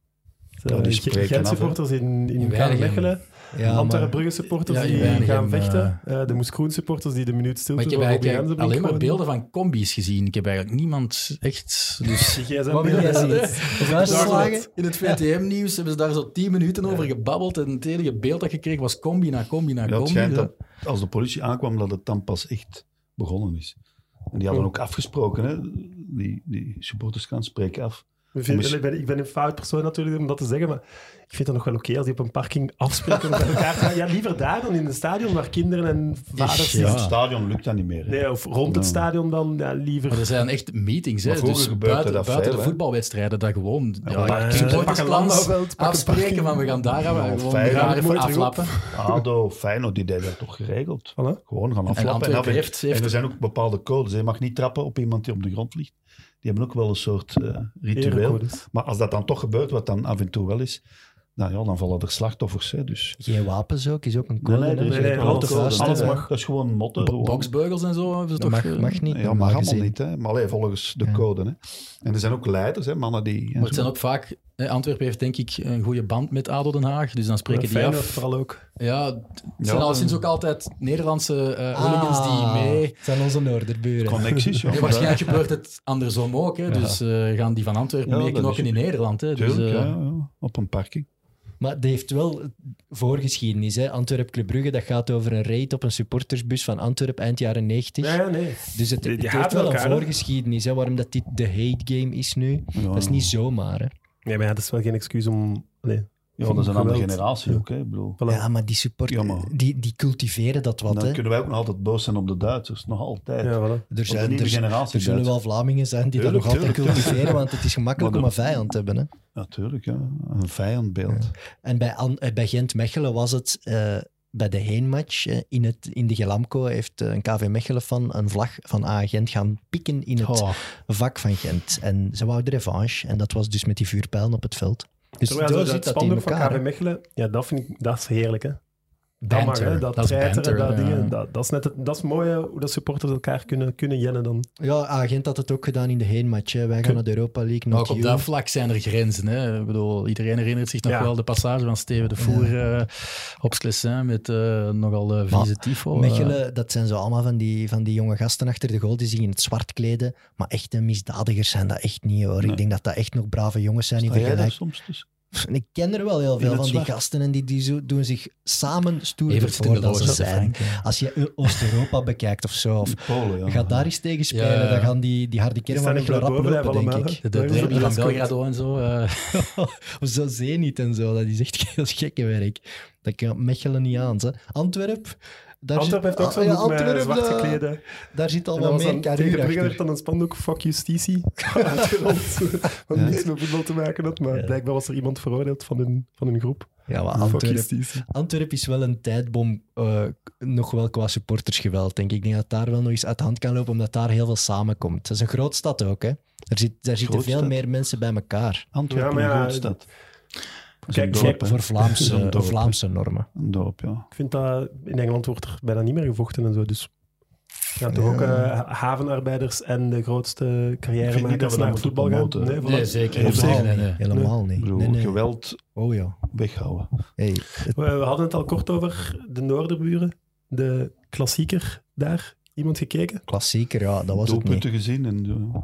Ja, die spreken supporters in, in Weinig, Mechelen, Ja, Antwerpen maar- Brugge supporters Ja, in die Weinig gaan en, vechten, Eh, de Moes Kroen supporters die de minuut stilte Maar ik heb voor Robin eigenlijk Jansen alleen maar brengen. beelden van combi's gezien. Ik heb eigenlijk niemand echt... Dus Die gsm Wat wil jij beelden. zien? Vuistslagen? in het VTM-nieuws hebben ze daar zo tien minuten over gebabbeld en het enige beeld dat je kreeg was combi na combi na Ja, het combi. schijnt dat als de politie aankwam dat het dan pas echt begonnen is. En die Oh. hadden ook afgesproken, hè? Die, die supporters gaan spreken af. Ik vind- Ik ben, ik ben een fout persoon natuurlijk om dat te zeggen, maar ik vind dat nog wel oké als die op een parking afspreken om bij elkaar te gaan. Ja, liever daar dan in een stadion waar kinderen en vaders Ja. In zitten. het stadion lukt dat niet meer. hè. Nee, oh. of rond het Ja. stadion dan, ja, liever. Maar er zijn echt meetings, hè. Maar vroeger dus gebeurde buiten, dat buiten veel, de hè. voetbalwedstrijden, dat gewoon ja, maar- ja, Pak een supportersplans landbouwveld, pak een afspreken parking. van we gaan daar gaan Ja, we gewoon fijn, daar dat even moet terug op. aflappen. ADO, Feyenoord, die deden dat toch geregeld. Voilà. Gewoon gaan aflappen. Antwerpen af- heeft- heeft- en er zijn ook bepaalde codes. hè. Je mag niet trappen op iemand die op de grond ligt. Die hebben ook wel een soort eh, ritueel. Erecodes. Maar als dat dan toch gebeurt, wat dan af en toe wel is, nou ja, dan vallen er slachtoffers. Hè, dus. Geen wapens ook, is ook een code. hè? er is nee, echt nee, wel alles- een code. alles Alles mag. mag. Dat is gewoon motten. gewoon. Boksbeugels en zo hebben ze Dat toch... mag, eh, mag niet. Ja, normaal mag allemaal gezien. niet, hè. maar alleen volgens de Ja. code. Hè. En er zijn ook leiders, hè, mannen die... Maar het zijn ook vaak... eh, Antwerpen heeft denk ik een goede band met ADO Den Haag, dus dan spreken die Feyenoord af. vooral ook. Ja, het zijn alleszins ook altijd Nederlandse eh hooligans Ah, die mee... Het zijn onze Noorderburen. Connecties, ja. Ja, waarschijnlijk gebeurt het andersom ook. Hè. Dus eh, gaan die van Ja, Antwerpen dat meeknokken is- in Nederland. Hè. Dus, Tuurlijk, eh, ja, ja, op een parking. Maar het heeft wel voorgeschiedenis. hè. Antwerp Club Brugge, dat gaat over een raid op een supportersbus van Antwerp eind jaren 90. Nee, nee. Dus het, Die- die het heeft haten wel elkaar, een hè? voorgeschiedenis, hè, waarom dat dit de hate game is nu. Dat is Oh. niet zomaar. Hè. Nee, maar ja, dat is wel geen excuus om... Nee. Ja, dat is een andere Geweld. generatie ook. Hè. Ik bedoel, Voilà. Ja, maar die supporters, Jammer. die, die cultiveren dat wat. dan Hè. kunnen wij ook nog altijd boos zijn op de Duitsers, nog altijd. Ja, voilà. Er, de zijn, nieuwe er, z- generatie er zullen wel Duitsers. Vlamingen zijn die dat nog Tuurlijk, altijd tuurlijk, cultiveren, want het is gemakkelijk Maar om een dat- vijand te hebben. Hè. Natuurlijk, ja. Een vijandbeeld. En bij, An- eh, bij Gent-Mechelen was het eh, bij de heenmatch eh, in, het, in de Gelamco heeft eh, een KV Mechelen van een vlag van A Gent gaan pikken in het oh. vak van Gent. En ze wou de revanche. En dat was dus met die vuurpijlen op het veld. Dus Terwijl zo zo zit dat dat in spandoek van elkaar. KV hè. Mechelen, ja, dat, vind ik, dat is heerlijk, hè. Dat Banter, mag, hè. Dat, dat is treiteren, banter, dat, ja. dingen, dat, dat is net het, dat is mooi, hè, hoe dat supporters elkaar kunnen, kunnen jennen dan. Ja, A Gent had het ook gedaan in de heenmatch. Hè. Wij gaan naar de Europa League, Maar not Ook op you. dat vlak zijn er grenzen. Hè? Ik bedoel, iedereen herinnert zich nog Ja. wel de passage van Steven de Voer eh, op Sclessin met eh, nogal eh vieze Maar tifo. eh. Mechelen, dat zijn zo allemaal van die, van die jonge gasten achter de goal die zich in het zwart kleden. Maar echte misdadigers zijn dat echt niet hoor. Ik Nee. denk dat dat echt nog brave jongens zijn in Sta jij daar vergelijking. soms dus. tussen? Pff, Ik ken er wel heel In veel het van die zwart. gasten en die, die zo- doen zich samen stoer Evert in voor de dat ze roze, zijn. Frank, hè. Als je Oost-Europa bekijkt of zo, of In Polen, ja. ga daar eens tegen spelen, Ja, ja, ja. dan gaan die, die harde Die kern van staan echt Mechelen wel rap boven, hè, lopen, allemaal. denk ik. De, Dat is derby een van raskomt. Belgrado en zo. eh. of zo Zenit en zo, dat is echt heel gekke werk. Dat kan Mechelen niet aan. Ze. Antwerp, daar Antwerpen zit, heeft ook zo'n Ah, ja, boek met Antwerp, zwart daar- gekleden. Daar zit al En dat wel was meer dan, tegen carrière Brugge werd achter. dan een spandoek Fuck Justitie uitgerold. Want niks met voetbal te maken had, maar Ja. blijkbaar was er iemand veroordeeld van hun, van hun groep. Ja, maar Ah, Fuck Antwerp, Justitie. Antwerp is wel een tijdbom, eh, nog wel qua supportersgeweld, denk ik. Ik denk dat daar wel nog eens uit de hand kan lopen, omdat daar heel veel samenkomt. Dat is een groot stad ook, hè. Er, zit, daar zitten Grootstad. veel meer mensen bij elkaar. Antwerpen, Ja, maar ja, een grootstad. Dat is kijk, een dorp, hè. voor Dat eh, is Vlaamse, een dorp, hè. Vlaamse normen. Een dorp, ja. Ik vind dat in Engeland wordt er bijna niet meer gevochten en zo. Dus ja, toch ook eh, havenarbeiders en de grootste niet dat carrièremakers we dat naar moeten voetbal gaan. promoten. voilà. Nee, zeker. Op niet. zich. Nee, nee, nee. Helemaal Ik niet. bedoel, Nee, nee. geweld Oh ja. weghouden. Hey, We, we hadden het al kort over de Noorderburen, de klassieker daar. Iemand gekeken? klassieker, ja, dat was het niet. Doelpunten gezien en... eh,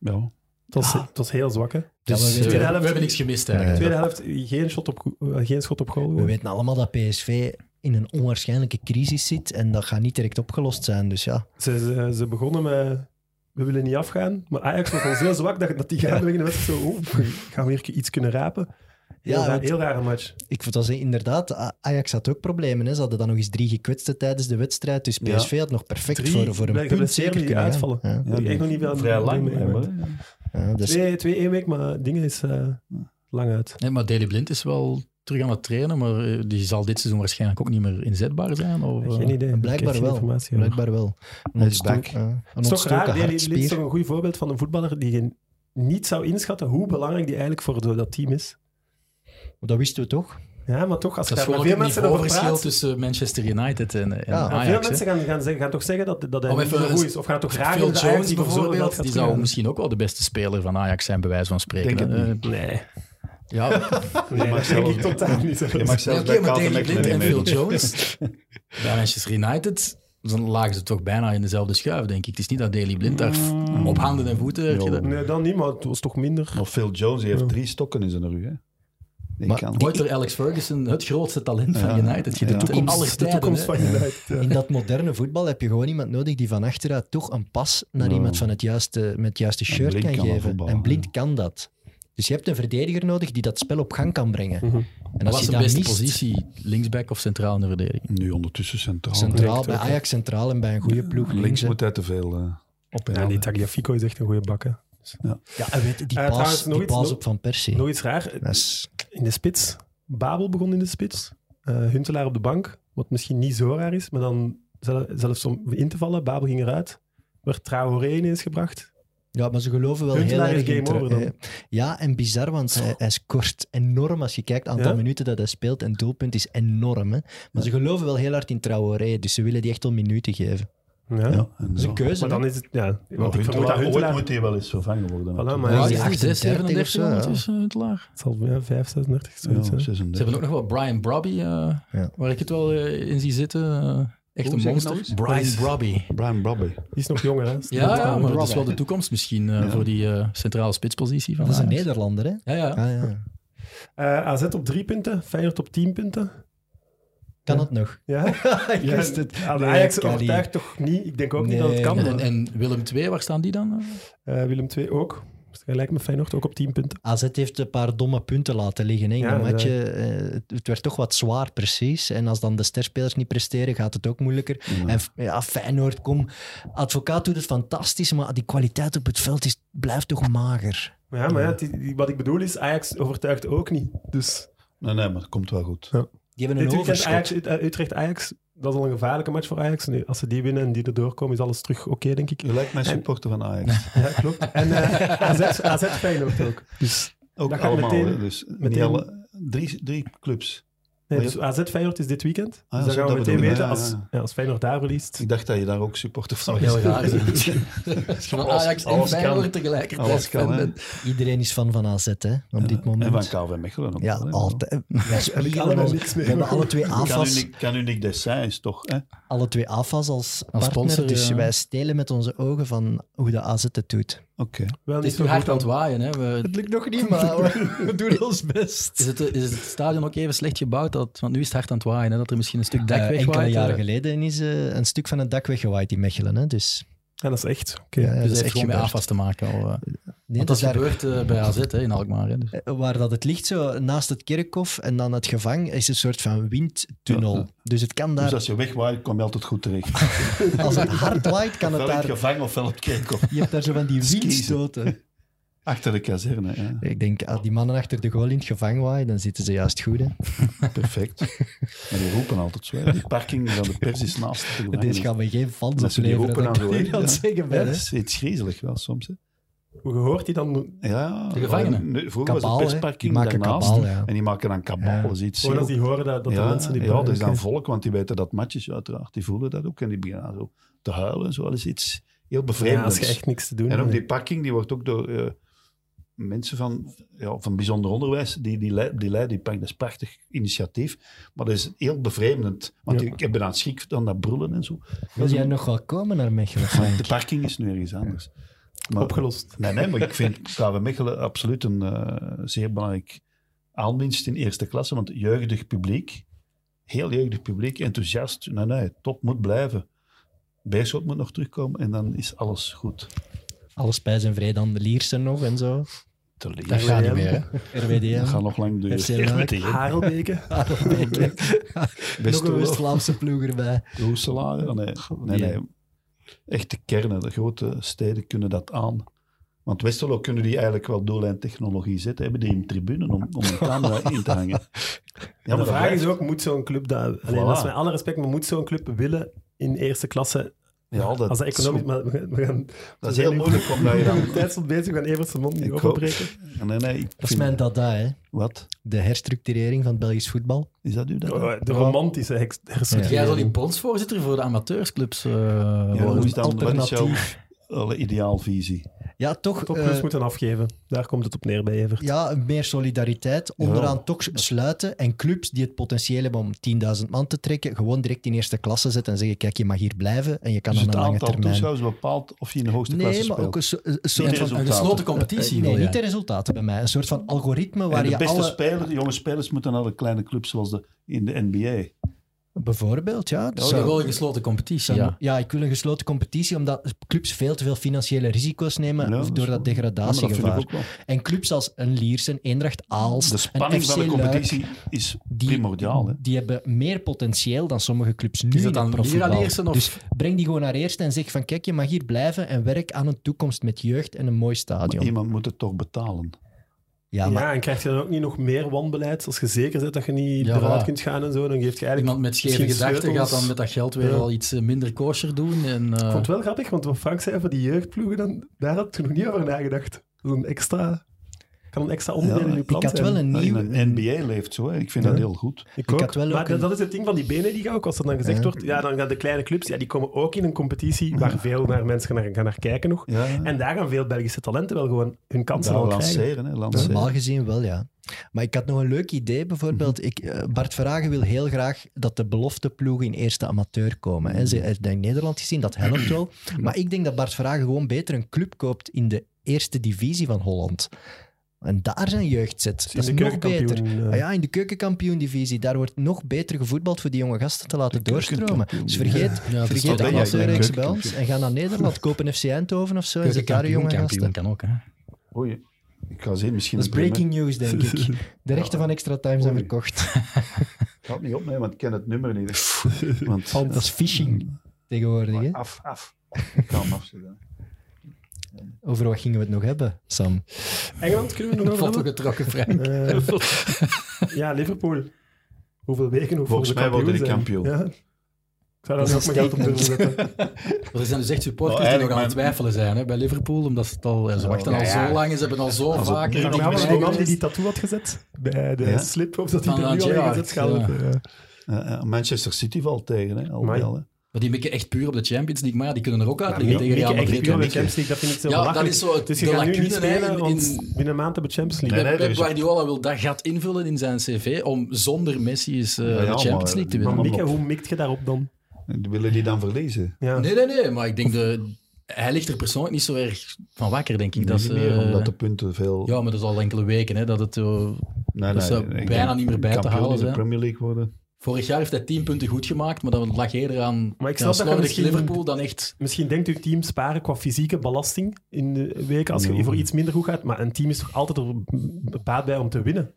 Ja. Het was, Ah. het was heel zwak, hè? Ja, Dus we eh, we weten- hebben niks gemist eigenlijk. Tweede helft, geen, shot op, go- eh, geen schot op goal. We weten allemaal dat PSV in een onwaarschijnlijke crisis zit en dat gaat niet direct opgelost zijn. Dus ja, Ze, ze, ze begonnen met... We willen niet afgaan, maar Ajax was al zo zwak dat, dat die gaandeweg in de wedstrijd zo... Oh, gaan we hier iets kunnen rapen? Heel, Ja, raar, want- heel rare match. Ik vond dat ze inderdaad, A- Ajax had ook problemen. Hè. Ze hadden dan nog eens drie gekwetsten tijdens de wedstrijd. Dus PSV had nog perfect Drie voor, voor een blijkbaar punt blesseren zeker die kunnen gaan. uitvallen. Ja. Ik echt nog niet eh, veel Vrij aan- lang. mee- hè, mee- maar- Ja, dus, Twee, twee één week, maar dingen is eh, lang uit. Nee, maar Daley Blind is wel terug aan het trainen, maar eh, die zal dit seizoen waarschijnlijk ook niet meer inzetbaar zijn. Of, eh, Geen idee. Ik heb blijkbaar, geen wel, informatie over. blijkbaar wel. Een Hij is ontstoken- back. ja, een Het is toch raar, ontstoken Daley Blind is hartspier. toch een goed voorbeeld van een voetballer die je niet zou inschatten hoe belangrijk die eigenlijk voor de- dat team is. Dat wisten we toch? Ja, maar toch, als je dat is daar met gewoon veel het Ah, mensen over niveauverschil praat... tussen Manchester United en, en Ja, Maar maar Ajax. veel hè. mensen gaan, gaan, zeggen, gaan toch zeggen dat, dat hij Om niet even zo een- goed is. Of gaan toch graag Phil in de Ajax Jones die voor zoveel geld bijvoorbeeld, gaat die zou teruggaan. misschien ook wel de beste speler van Ajax zijn, bij wijze van spreken. Denk het hè. Nee, Eh, ja, nee dat denk ik totaal niet. Je mag zelfs Ja, oké, bij maar Carlton Daley Blind McLaren en mee. Phil Jones. Bij Manchester United dan lagen ze toch bijna in dezelfde schuif, denk ik. Het is niet dat Daley Blind daar op handen en voeten... werd Ja. gedaan. Nee, dan niet, maar het was toch minder. Maar Phil Jones die heeft drie stokken in zijn rug. Hè. Die Maar kan. Ooit door Alex Ferguson, het grootste talent van Ja. United. Ja. De toekomst, aller de tijden, toekomst hè. van United. ja. In dat moderne voetbal heb je gewoon iemand nodig die van achteruit toch een pas naar Ja. iemand van het juiste, met het juiste En shirt Blind kan kan dat geven. voetballen, En blind kan dat. Dus je hebt een verdediger nodig die dat spel op gang kan brengen. Mhm. En Wat als je is de dat beste mist, positie? Linksback of centraal in de verdediging? Nu ondertussen centraal. centraal, Direct bij ook, Ajax centraal en bij een goede ploeg links. Links hè. moet hij te veel eh, op en Ja, aan, die hè. Tagliafico is echt een goede bak. hè. Ja, en weet je, die Eh, paas, trouwens, nog die iets, paas nog- op Van Persie. Nog iets raar. Dat is- In de spits. Babel begon in de spits. Eh, Huntelaar op de bank. Wat misschien niet zo raar is, maar dan zelf- zelfs om in te vallen. Babel ging eruit. Werd Traoré ineens gebracht. ja, maar ze geloven wel heel Huntelaar is erg in... game tra- over dan. eh, Ja, en bizar, want hij, hij scoort enorm als je kijkt. Het aantal Ja? minuten dat hij speelt en doelpunt is enorm. Hè? Maar ze geloven wel heel hard in Traoré, dus ze willen die echt wel minuten geven. Ja. Ja, en Dat is zo. een keuze. Maar dan is het... Ja, want ik vermoed dat Huntelaar- Huntelaar... ooit moet hij wel eens vervangen worden. Voilà, natuurlijk. maar Hoe oud die is die? 38 of 37 zo, ja. ondertussen, Huntelaar? Het zal ja, 5, 36, zoiets. Ja, hè. 36. eh, Ze hebben ook nog wel Brian Brobby, eh, waar ik het wel eh, in zie zitten. eh, echt Hoe een zeg je nou monster. eens? Brian Brobby. Brian Brabby. Die is nog jonger, hè? Ja, ja, Spontaan. maar dat is wel de toekomst misschien eh, voor die eh, centrale spitspositie van Dat is een Ajax. Nederlander, hè? Ja, ja. Ah, ja. Eh, AZ op 3 punten. Feyenoord op 10 punten. Kan het nog? Ja. Ik Ja, wist het. Aan Nee, Ajax kan niet. overtuigt toch niet. Ik denk ook niet Nee, dat het kan. nee. maar- En, en Willem II, waar staan die dan? eh? Eh, Willem II ook. Dus Gelijk met Feyenoord ook op 10 punten. AZ heeft een paar domme punten laten liggen. Hè. In Ja, dat matchje, eh, het- het werd toch wat zwaar, precies. En als dan de sterspelers niet presteren, gaat het ook moeilijker. En f- ja, Feyenoord, kom. Advocaat doet het fantastisch, maar die kwaliteit op het veld is, blijft toch mager. Ja, maar ja, het is- die- wat ik bedoel is, Ajax overtuigt ook niet. Dus Nee, nee, maar dat komt wel goed. Die hebben dit een weekend overschot. Ajax, Ut- eh, Utrecht-Ajax, dat is al een gevaarlijke match voor Ajax. Nu, als ze die winnen en die erdoor komen, is alles terug oké, denk ik. Je lijkt mij supporter van Ajax. Ja, klopt. En eh, AZ, AZ Feyenoord ook. Dus, Ook Dat gaat allemaal. meteen- hè, dus niet meteen- alle- drie, drie clubs. nee, dus AZ Feyenoord is dit weekend. Ah, dus dan zo, gaan we dat meteen bedoel je. weten, Ja, als, ja. ja, als Feyenoord daar verliest. Ik dacht dat je daar ook supporter van was. Heel raar. is het. Van Ajax en alles kan. Feyenoord tegelijkertijd. Alles kan, fan hè. bent. Iedereen is fan van AZ, hè, op dit En van moment. KV Mechelen. ook Ja, wel, hè. altijd. Wij spelen allemaal allemaal- niks mee, we hebben maar alle twee Kan u, AFAS, niet, kan u niet Dessin is toch? Hè? alle twee AFAS als, partner, sponsor, dus ja. wij stelen met onze ogen van hoe de AZ het doet. Oké. Wel Het niet is zo nu goed hard aan dan. het waaien. Hè. We, Het lukt nog niet, maar we, doen ons best. Is het, is het stadion ook even slecht gebouwd? Dat, want nu is het hard aan het waaien, hè, dat er misschien een stuk dek Eh, enkele wegwaait. jaren eh. geleden is eh, een stuk van het dak weggewaaid in Mechelen. Hè? Dus, Ja, dat is echt. Oké. ja, ja, Dus dat dat is heeft echt gewoon met gebeurd. AFAS te maken. Al, eh. Nee, want dat dat is daar, gebeurt eh, bij AZ hè, in Alkmaar. Hè, dus. eh, waar dat het ligt, zo, naast het kerkhof en dan het gevang, is een soort van windtunnel. Ja, ja. Dus het kan daar, Dus als je wegwaait, kom je altijd goed terecht. als het hard waait, kan het Ofwel in het daar... gevangen ofwel op het kerkhof. Je hebt daar zo van die windstoten. Achter de kazerne, ja. Ik denk, als die mannen achter de goal in het gevangen waaien, dan zitten ze juist goed. Hè? Perfect. Maar die roepen altijd zo. hè. Die parking van de pers is naast de gevangenis. Deze gaan we geen fans Dat ze die opleveren, roepen dat aan ik zo, hè. hier aan het Ja. zeggen Ja, ben. dat hè. is iets griezelig wel soms. Hè. Hoe gehoord die dan? Ja, De gevangenen. nu- Vroeger Kabaal, was hè. het Die persparking maken daarnaast. kabaal, ja. En die maken dan kabaal. Ja. Dat is iets Gewoon als die horen dat, dat ja, de mensen die ja, dat is Oké. dan volk, want die weten dat matjes uiteraard. Die voelen dat ook en die beginnen zo te huilen. en Zo. Dat is iets heel Ja, bevreemdends. als je echt niks te doen dus. En ook hebt. die parking, die wordt ook door eh, mensen van, ja, van bijzonder onderwijs, die, die, leid- die leiden die parking. Dat is een prachtig initiatief, maar dat is heel bevreemdend. Want Ja. ik heb dan schrik dan dat brullen en zo. Wil jij nog wel komen naar Mechelen, Maar Frank? de parking is nu ergens anders. Maar- Opgelost. Nee, nee, maar ik vind KV Mechelen absoluut een eh, zeer belangrijk aanwinst in eerste klasse. Want jeugdig publiek, heel jeugdig publiek, enthousiast. Nee, nee, top moet blijven. Beerschot moet nog terugkomen en dan is alles goed. Alles bij zijn vrede aan de Liersen nog en zo. te lezen. Dat gaat niet meer, hè? Dat RWDM, gaat nog lang duren. FC Luik, Harelbeke. Adelbeke. Nog Beste een wel. West-Vlaamse ploeg erbij. De Hoeselaar? Ah, Nee, nee, nee. Echt de kernen, de grote steden kunnen dat aan. Want Westerlo kunnen die eigenlijk wel doellijntechnologie zetten. Hebben die een tribune om, om een camera in te hangen? Ja, de dat vraag is blijft. ook, moet zo'n club dat... Alleen, Voilà. dat is met alle respect, maar moet zo'n club willen in eerste klasse... Ja, dat, als dat economisch... is- Maar we gaan, we gaan- dat is heel moeilijk omdat je we dan... zijn tijdens bezig, we gaan Evert zijn mond niet Ik hoop- openbreken. Nee, nee, ik Dat is vind- mijn dada, hè? Wat? De herstructurering van het Belgisch voetbal. Is dat u dat? Oh, De romantische heks- hersenstructuur. Jij zou die bondsvoorzitter voor de amateursclubs eh, Ja, worden. hoe is dan, wat is jouw alle ideaalvisie? Ja, toch. Topclubs eh, moeten afgeven. Daar komt het op neer bij Evert. ja, meer solidariteit. Onderaan toch sluiten. En clubs die het potentieel hebben om 10.000 man te trekken, gewoon direct in eerste klasse zetten en zeggen: kijk, je mag hier blijven en je kan Dus aan het een lange aantal termijn. toeschouwers bepaalt of je in de hoogste klasse Nee, maar speelt. ook een, so- een Niet soort de van. Een resultaten. gesloten competitie. Eh, nee, wil jij. niet de resultaten bij mij. Een soort van algoritme waar En de je beste alle... spelers, jonge spelers moeten naar de kleine clubs zoals de, in de NBA. Bijvoorbeeld, ja. Dus Je dan- wil een Oh, gesloten competitie, dan- ja. ja. ik wil een gesloten competitie, omdat clubs veel te veel financiële risico's nemen Ja, dat is door waar. dat Ja, maar dat vind degradatiegevaar. ik ook wel. En clubs als een Liers, een Eendracht, Aals, De een spanning FC van de Luik, competitie is primordiaal. Hè? die hebben meer potentieel dan sommige clubs nu Is dat in het dan hier profvoetbal. al eerste of... Dus breng die gewoon naar eerst en zeg van kijk, je mag hier blijven en werk aan een toekomst met jeugd en een mooi Maar stadion. iemand moet het toch betalen. Ja, maar Ja, en krijg je dan ook niet nog meer wanbeleid? Als je zeker bent dat je niet Ja, eruit voilà. kunt gaan en zo, dan geeft je eigenlijk... Iemand met scheve misschien gedachten gaat sleutels. dan met dat geld weer Ja. al iets eh, minder kosher doen. En, eh, Ik vond het wel grappig, want wat Frank zei over die jeugdploegen, dan, daar had ik toen nog niet over nagedacht. Dat is een extra... Kan een extra onderdeel Ja, in uw plan ik had zijn. wel een In nieuw... een NBA leeft zo. Hè? Ik vind dat heel goed. Ik, Ik ook. had wel maar ook dat- een- dat is het ding van die benenliga ook. Als dat dan gezegd Ja. wordt, ja, dan gaan de kleine clubs, ja, die komen ook in een competitie waar veel naar mensen naar, gaan naar kijken nog. Ja, ja. En daar gaan veel Belgische talenten wel gewoon hun kansen Daar al krijgen. lanceren. Hè? lanceren. Normaal gezien wel, ja. Maar ik had nog een leuk idee, bijvoorbeeld. Ik, eh, Bart Verhagen wil heel graag dat de belofteploegen in eerste amateur komen. Hè. Ze hebben in Nederland gezien, dat helpt wel. Maar ik denk dat Bart Verhagen gewoon beter een club koopt in de eerste divisie van Holland. En daar zijn jeugd zit. In Dat is de nog beter. keukenkampioen, eh. Ah ja, in de keukenkampioen-divisie. Daar wordt nog beter gevoetbald voor die jonge gasten te laten doorstromen. Dus vergeet, dat is vergeet toch de wel, ja, amateurreeks ja, bij ons en ga naar Nederland. kopen FC Eindhoven of zo en zet daar jonge gasten. kampioen kan ook, hè. Oei, ik ga zien, misschien Dat is een breaking news, denk ik. De rechten van Extra Time zijn Oei. verkocht. Ik ga het niet opnemen, want ik ken het nummer niet. Want, Dat is phishing tegenwoordig. Hè? af, af. Ik kan hem afzetten. Over wat gingen we het nog hebben, Sam? Ah, Engeland kunnen we nog over Foto hebben? getrokken, Frank. Eh, ja, Liverpool. Hoeveel weken hoeveel Volgens ze mij worden die kampioen zijn. Ja. Ik zou daar nog mijn geld op durven zetten. Er zijn dus echt supporters Nou, die eigenlijk nog aan het mijn- twijfelen zijn hè, bij Liverpool, omdat ze het al, eh, ze wachten ja, al ja. zo lang en ze hebben al zo Als het vaak... nu en nog Maar die maar ja, was mensen- die man die die tattoo had gezet bij de Ja. slip, of dat die Van er nu al in Gerrard, gezet gaat worden. Ja. Eh, eh, Manchester City valt tegen, hè? al Amai. wel, hè. Maar die mikken echt puur op de Champions League, maar ja, die kunnen er ook uit Mieke- liggen tegen Real Mieke, echt Madrid. puur en bij Mieke. Champions League, dat vind ik zo Ja, dat belachelijk. is zo het- Dus je de gaat nu lacune niet spelen, in- want in- binnen een maand hebben we Champions League. Nee, Pep- nee, dus- er Pep is- Guardiola wil dat gat invullen in zijn cv om zonder Messi eens eh, Ja, ja, de maar- Champions League te maar winnen. Maar Mieke, hoe mikt je daarop dan? En Willen die dan verliezen? Ja. Nee, nee, nee, maar ik denk de... Hij ligt er persoonlijk niet zo erg van wakker, denk ik. Dat niet is, meer, eh, omdat de punten veel... Ja, maar dat is al enkele weken hè, dat het eh, zo nee, dat zou ik denk bijna niet meer bij te kampioen halen in de zijn. Premier League worden. Vorig jaar heeft hij 10 punten goed gemaakt, maar dat lag eerder aan Maar ik aan snap dat je slordig misschien- Liverpool dan echt... Misschien denkt uw team sparen qua fysieke belasting in de weken als je Nee. voor iets minder goed gaat, maar een team is toch altijd er baat bij om te winnen.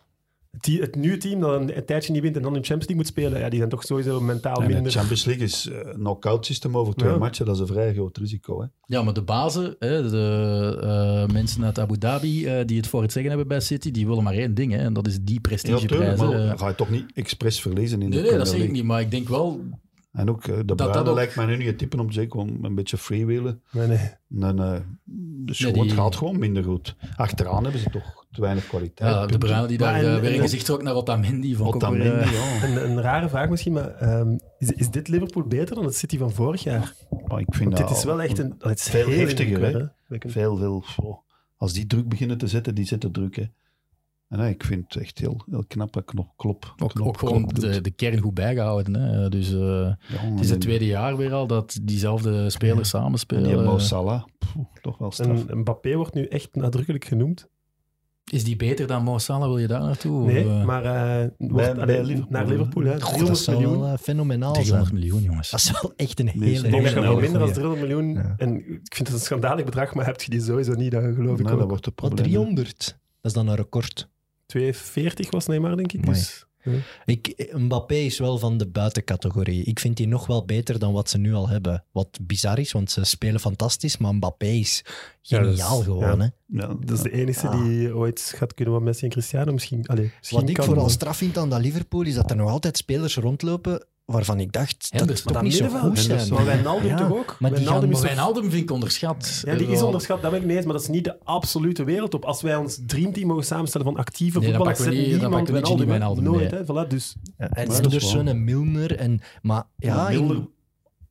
Het, tie- het nieuwe team dat een, een tijdje niet wint en dan in Champions League moet spelen, ja, die zijn toch sowieso mentaal En de minder. Champions League is eh, knock-out systeem over twee Ja. matchen. Dat is een vrij groot risico. Hè? Ja, maar de bazen, hè, de eh, mensen uit Abu Dhabi eh, die het voor het zeggen hebben bij City, die willen maar één ding, hè, en dat is die Ja, tuurlijk, prestigeprijzen. maar eh. dan ga je toch niet expres verliezen nee, in de nee, Premier dat zeg ik League. niet, maar ik denk wel... En ook eh, de dat Bruyne ook- lijkt mij nu niet het type om te zeggen, gewoon een beetje freewheelen. Nee, nee. Nee, nee. Dus Nee, gewoon, die- het gaat gewoon minder goed. Achteraan hebben ze toch te weinig kwaliteit. Ja, de Bruyne die daar Maar en- eh, weer en- een gezicht trok naar Otamendi, vond ik ook weer... Otamendi, eh, ja. Een, een rare vraag misschien, maar ehm, is, is dit Liverpool beter dan het City van vorig jaar? Maar ik vind Want dat dit is wel echt een... Het is Nou, veel heel heftiger, hè? indrukwekkend. Veel, veel. oh, Als die druk beginnen te zetten, die zetten druk. Hè. En nee, ik vind het echt heel, heel knap. dat Knop, klop, Ook, knop, ook gewoon Klop doet. de, de kern goed bijgehouden. Hè. Dus eh, Ja, het is en- het tweede jaar weer al dat diezelfde spelers en Die Mo eh, samenspelen. Salah, pff, toch wel straf. En eh, Mbappé wordt nu echt nadrukkelijk genoemd. Is die beter dan Mo Salah? Wil je daar naartoe? Nee, Of, eh, maar eh, wordt, bij allee, Liverpool, naar hè? Liverpool, hè. Goh, dat 300 zou miljoen. wel eh, fenomenaal zijn. 300 miljoen, jongens. Dat is wel echt een Nee, hele, ik Ik hele, denk dat je snel voor minder dan goeie. 300 miljoen... Ja. En ik vind het een schandalig bedrag, maar heb je die sowieso niet, dat geloof ik Nee, dat ook. wordt het Wat, probleem. hè. 300? is dan een record. 2,40 was Neymar, denk ik. Amai. Dus, Ik, Mbappé is wel van de buitencategorie. Ik vind die nog wel beter dan wat ze nu al hebben. Wat bizar is, want ze spelen fantastisch, maar Mbappé is Ja, dat geniaal is- ja. gewoon. Hè? Ja, dat is de enige Ah. die ooit gaat kunnen wat Messi en Cristiano. Misschien, allee, misschien Wat ik kan, vooral maar- straf vind aan dat Liverpool is dat er nog altijd spelers rondlopen waarvan ik dacht dat Henderson. het toch Maar niet zo middenveld- goed zijn. Maar Wijnaldum Ja, toch ook? maar die Wijnaldum gaan- dus- is toch- Wijnaldum vind ik onderschat. Ja, die is onderschat, dat ben ik mee eens, maar dat is niet de absolute wereld op. Als wij ons dreamteam mogen samenstellen van actieve Nee, dan voetballers, pakken we zet niet- dan niemand pakken we Gini Wijnaldum, hè. Wijnaldum, Nooit, hè. Voilà, dus En dat is Henderson waar. en Milner. En, maar ja, Ja, in- Milner,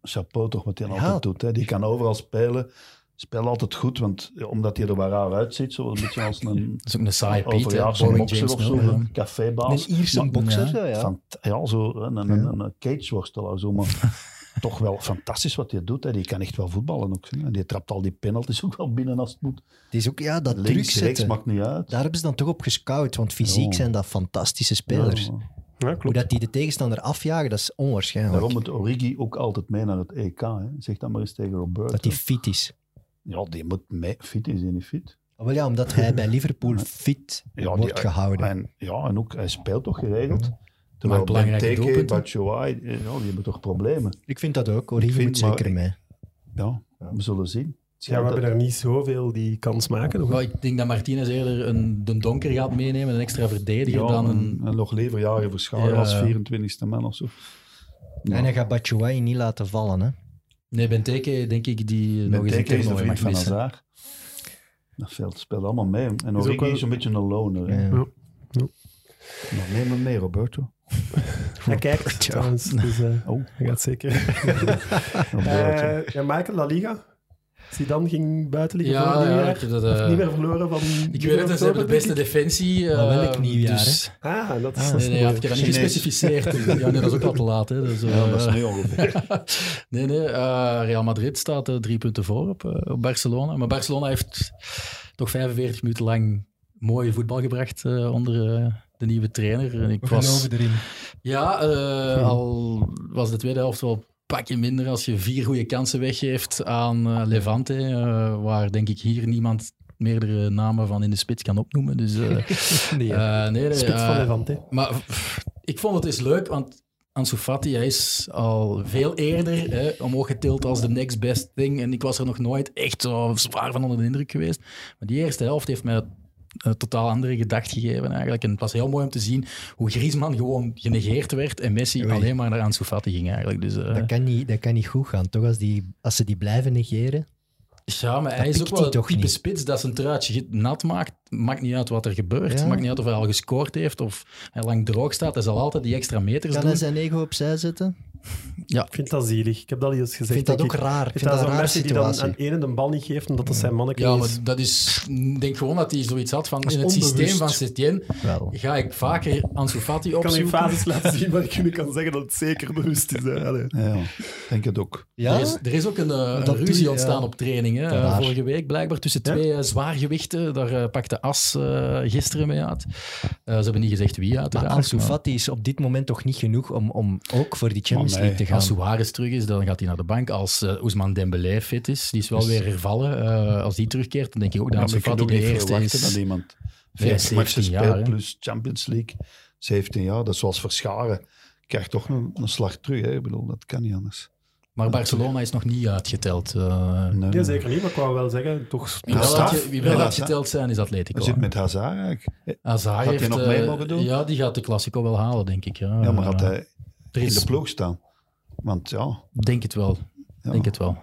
chapeau toch wat hij Ja. altijd doet. Hè. Die kan overal spelen. Speelt altijd goed, want, ja, omdat hij er wel raar uitziet. Zo een beetje als een Dat is ook een saaie Piet, hè. overjaarse Boring bokser James of zo. Miller. Een cafébaas. een Ierse Maar- bokser. Ja. Ja, ja. Van, ja, zo een, een, een, een cageworstelaar. Zo, maar toch wel fantastisch wat hij doet. Hè. Die kan echt wel voetballen ook. hè. En die trapt al die penalties ook wel binnen als het moet. Het is ook ja, dat druk Links, rechts, zetten. maakt niet uit. Daar hebben ze dan toch op gescout, want fysiek Ja. zijn dat fantastische spelers. Ja. ja, Hoe klopt. dat die de tegenstander afjagen, dat is onwaarschijnlijk. Daarom moet Origi ook altijd mee naar het EK. Hè. Zeg dat maar eens tegen Roberto. Dat hij fit is. Ja, die moet mee. Fit is hij niet fit. Ah, Wel ja, omdat hij bij Liverpool fit Ja, die- wordt gehouden. En, ja, en ook, hij speelt toch geregeld. Maakt Terwijl belangrijke Benteke, doelpunten. Batshuayi, eh, ja, die hebben toch problemen. ik vind dat ook. Origi Ik vind- moet zeker maar- mee. Ja, we zullen zien. Ja, we hebben daar niet zoveel die kans maken. Of- Maar ik denk dat Martinez eerder een, de donker gaat meenemen, een extra verdediger, dan een... En nog leven jaren verscharen Ja. als 24e man of zo. Ja. En hij gaat Batshuayi niet laten vallen. Hè? Nee, Benteke, denk ik, die nog eens een Benteke is de toernooi vriend mag van missen. Hazard. Dat veld speelt allemaal mee. En ook Origi is, wel- een beetje een loner. hè. Ja. Ja. Maar neem hem mee, Roberto. Hij kijkt trouwens, dus eh, hij gaat zeker. Roberto. Eh, ja, Michael, La Liga. Zidane ging buiten liggen Ja, voor het ja, nieuwjaar. ik heb dat, eh, Of niet meer verloren van... Ik weet het, en ze hebben de beste defensie. Maar eh, welk nieuwjaar, dus- Ah, dat is... Nee, dat is nee, ja, mooi. ik heb dat niet Chinees. gespecificeerd. Ja, nee, dat is ook al te laat. Hè. Dus, eh, ja, dat is nu ongeveer. nee, nee. eh, Real Madrid staat eh, drie punten voor op, eh, op Barcelona. Maar Barcelona heeft toch 45 minuten lang mooi voetbal gebracht eh, onder eh, de nieuwe trainer. En ik was, erin. ja, eh, al was de tweede helft wel een pakje minder als je vier goede kansen weggeeft aan eh, Levante, eh, waar denk ik hier niemand meerdere namen van in de spits kan opnoemen. Dus, eh, Nee, eh, nee, nee, Spits van eh, Levante. maar pff, ik vond het eens leuk, want Ansu Fati hij is al veel eerder hè, omhoog getild als de next best thing. En ik was er nog nooit echt zo zwaar van onder de indruk geweest. Maar die eerste helft heeft mij een totaal andere gedachte gegeven eigenlijk. En het was heel mooi om te zien hoe Griezmann gewoon genegeerd werd en Messi Oei. alleen maar naar Ansu Fati ging eigenlijk. Dus, eh, dat, kan niet, dat kan niet goed gaan, toch? Als, die, als ze die blijven negeren. ja, maar hij is pikt ook wel hij het toch type niet. spits dat zijn truitje nat maakt. Maakt niet uit wat er gebeurt. Ja. Maakt niet uit of hij al gescoord heeft of hij lang droog staat. Hij zal altijd die extra meters Kan doen. hij zijn ego opzij zetten? Ik vind dat zielig. Ik heb dat al eens gezegd. Ik vind dat denk ook raar. Ik Ik vind dat een zo'n rare Messi die dan situatie. aan ene de bal niet geeft omdat dat zijn manneke Mm. Ja, maar is. dat is... Ik denk gewoon dat hij zoiets had van... is In het onbewust. systeem van Setien Wel. ga ik vaker Ansu Fati Ik kan je opzoeken. fases laten zien, maar ik kan zeggen dat het zeker bewust is. hè. Allee. Ja, ik denk het ook. Ja? Er, is, er is ook een, eh, een doe je, ruzie ja. ontstaan op training. Hè, Raar. eh, vorige week blijkbaar tussen twee eh, zwaargewichten. Daar eh, pakte As eh, gisteren mee uit. Eh, ze hebben niet gezegd wie Maar uiteraard. Ansu maar Fati is op dit moment toch niet genoeg om, om ook voor die Champions Maar nee, League te gaan. Als Suarez terug is, dan gaat hij naar de bank. Als eh, Ousmane Dembélé fit is, die is Dus- wel weer hervallen. eh, als die terugkeert, dan denk ik ook dat Ja, maar Ansu je kunt Fati ook de niet eerste verwachten dat is. iemand Nee, 40 matchen 17 jaar, speelt, hè. plus Champions League, 17 jaar. Dat is zoals Verscharen. Krijgt toch een, een slag terug, hè? Ik bedoel, dat kan niet anders. Maar Barcelona is nog niet uitgeteld. eh. Nee, Ja, nee. zeker niet, maar ik wou wel zeggen, toch... Wie wel straf. uitge- wie Ja, wel dat- uitgeteld zijn, is Atletico. Hij zit met Hazard eigenlijk. Hazard Gaat hij heeft, nog eh, mee mogen doen? Ja, die gaat de Classico wel halen, denk ik. Ja, Ja, maar had Eh, hij er in is- de ploeg staan? Want ja, Denk het wel. ja Denk het wel.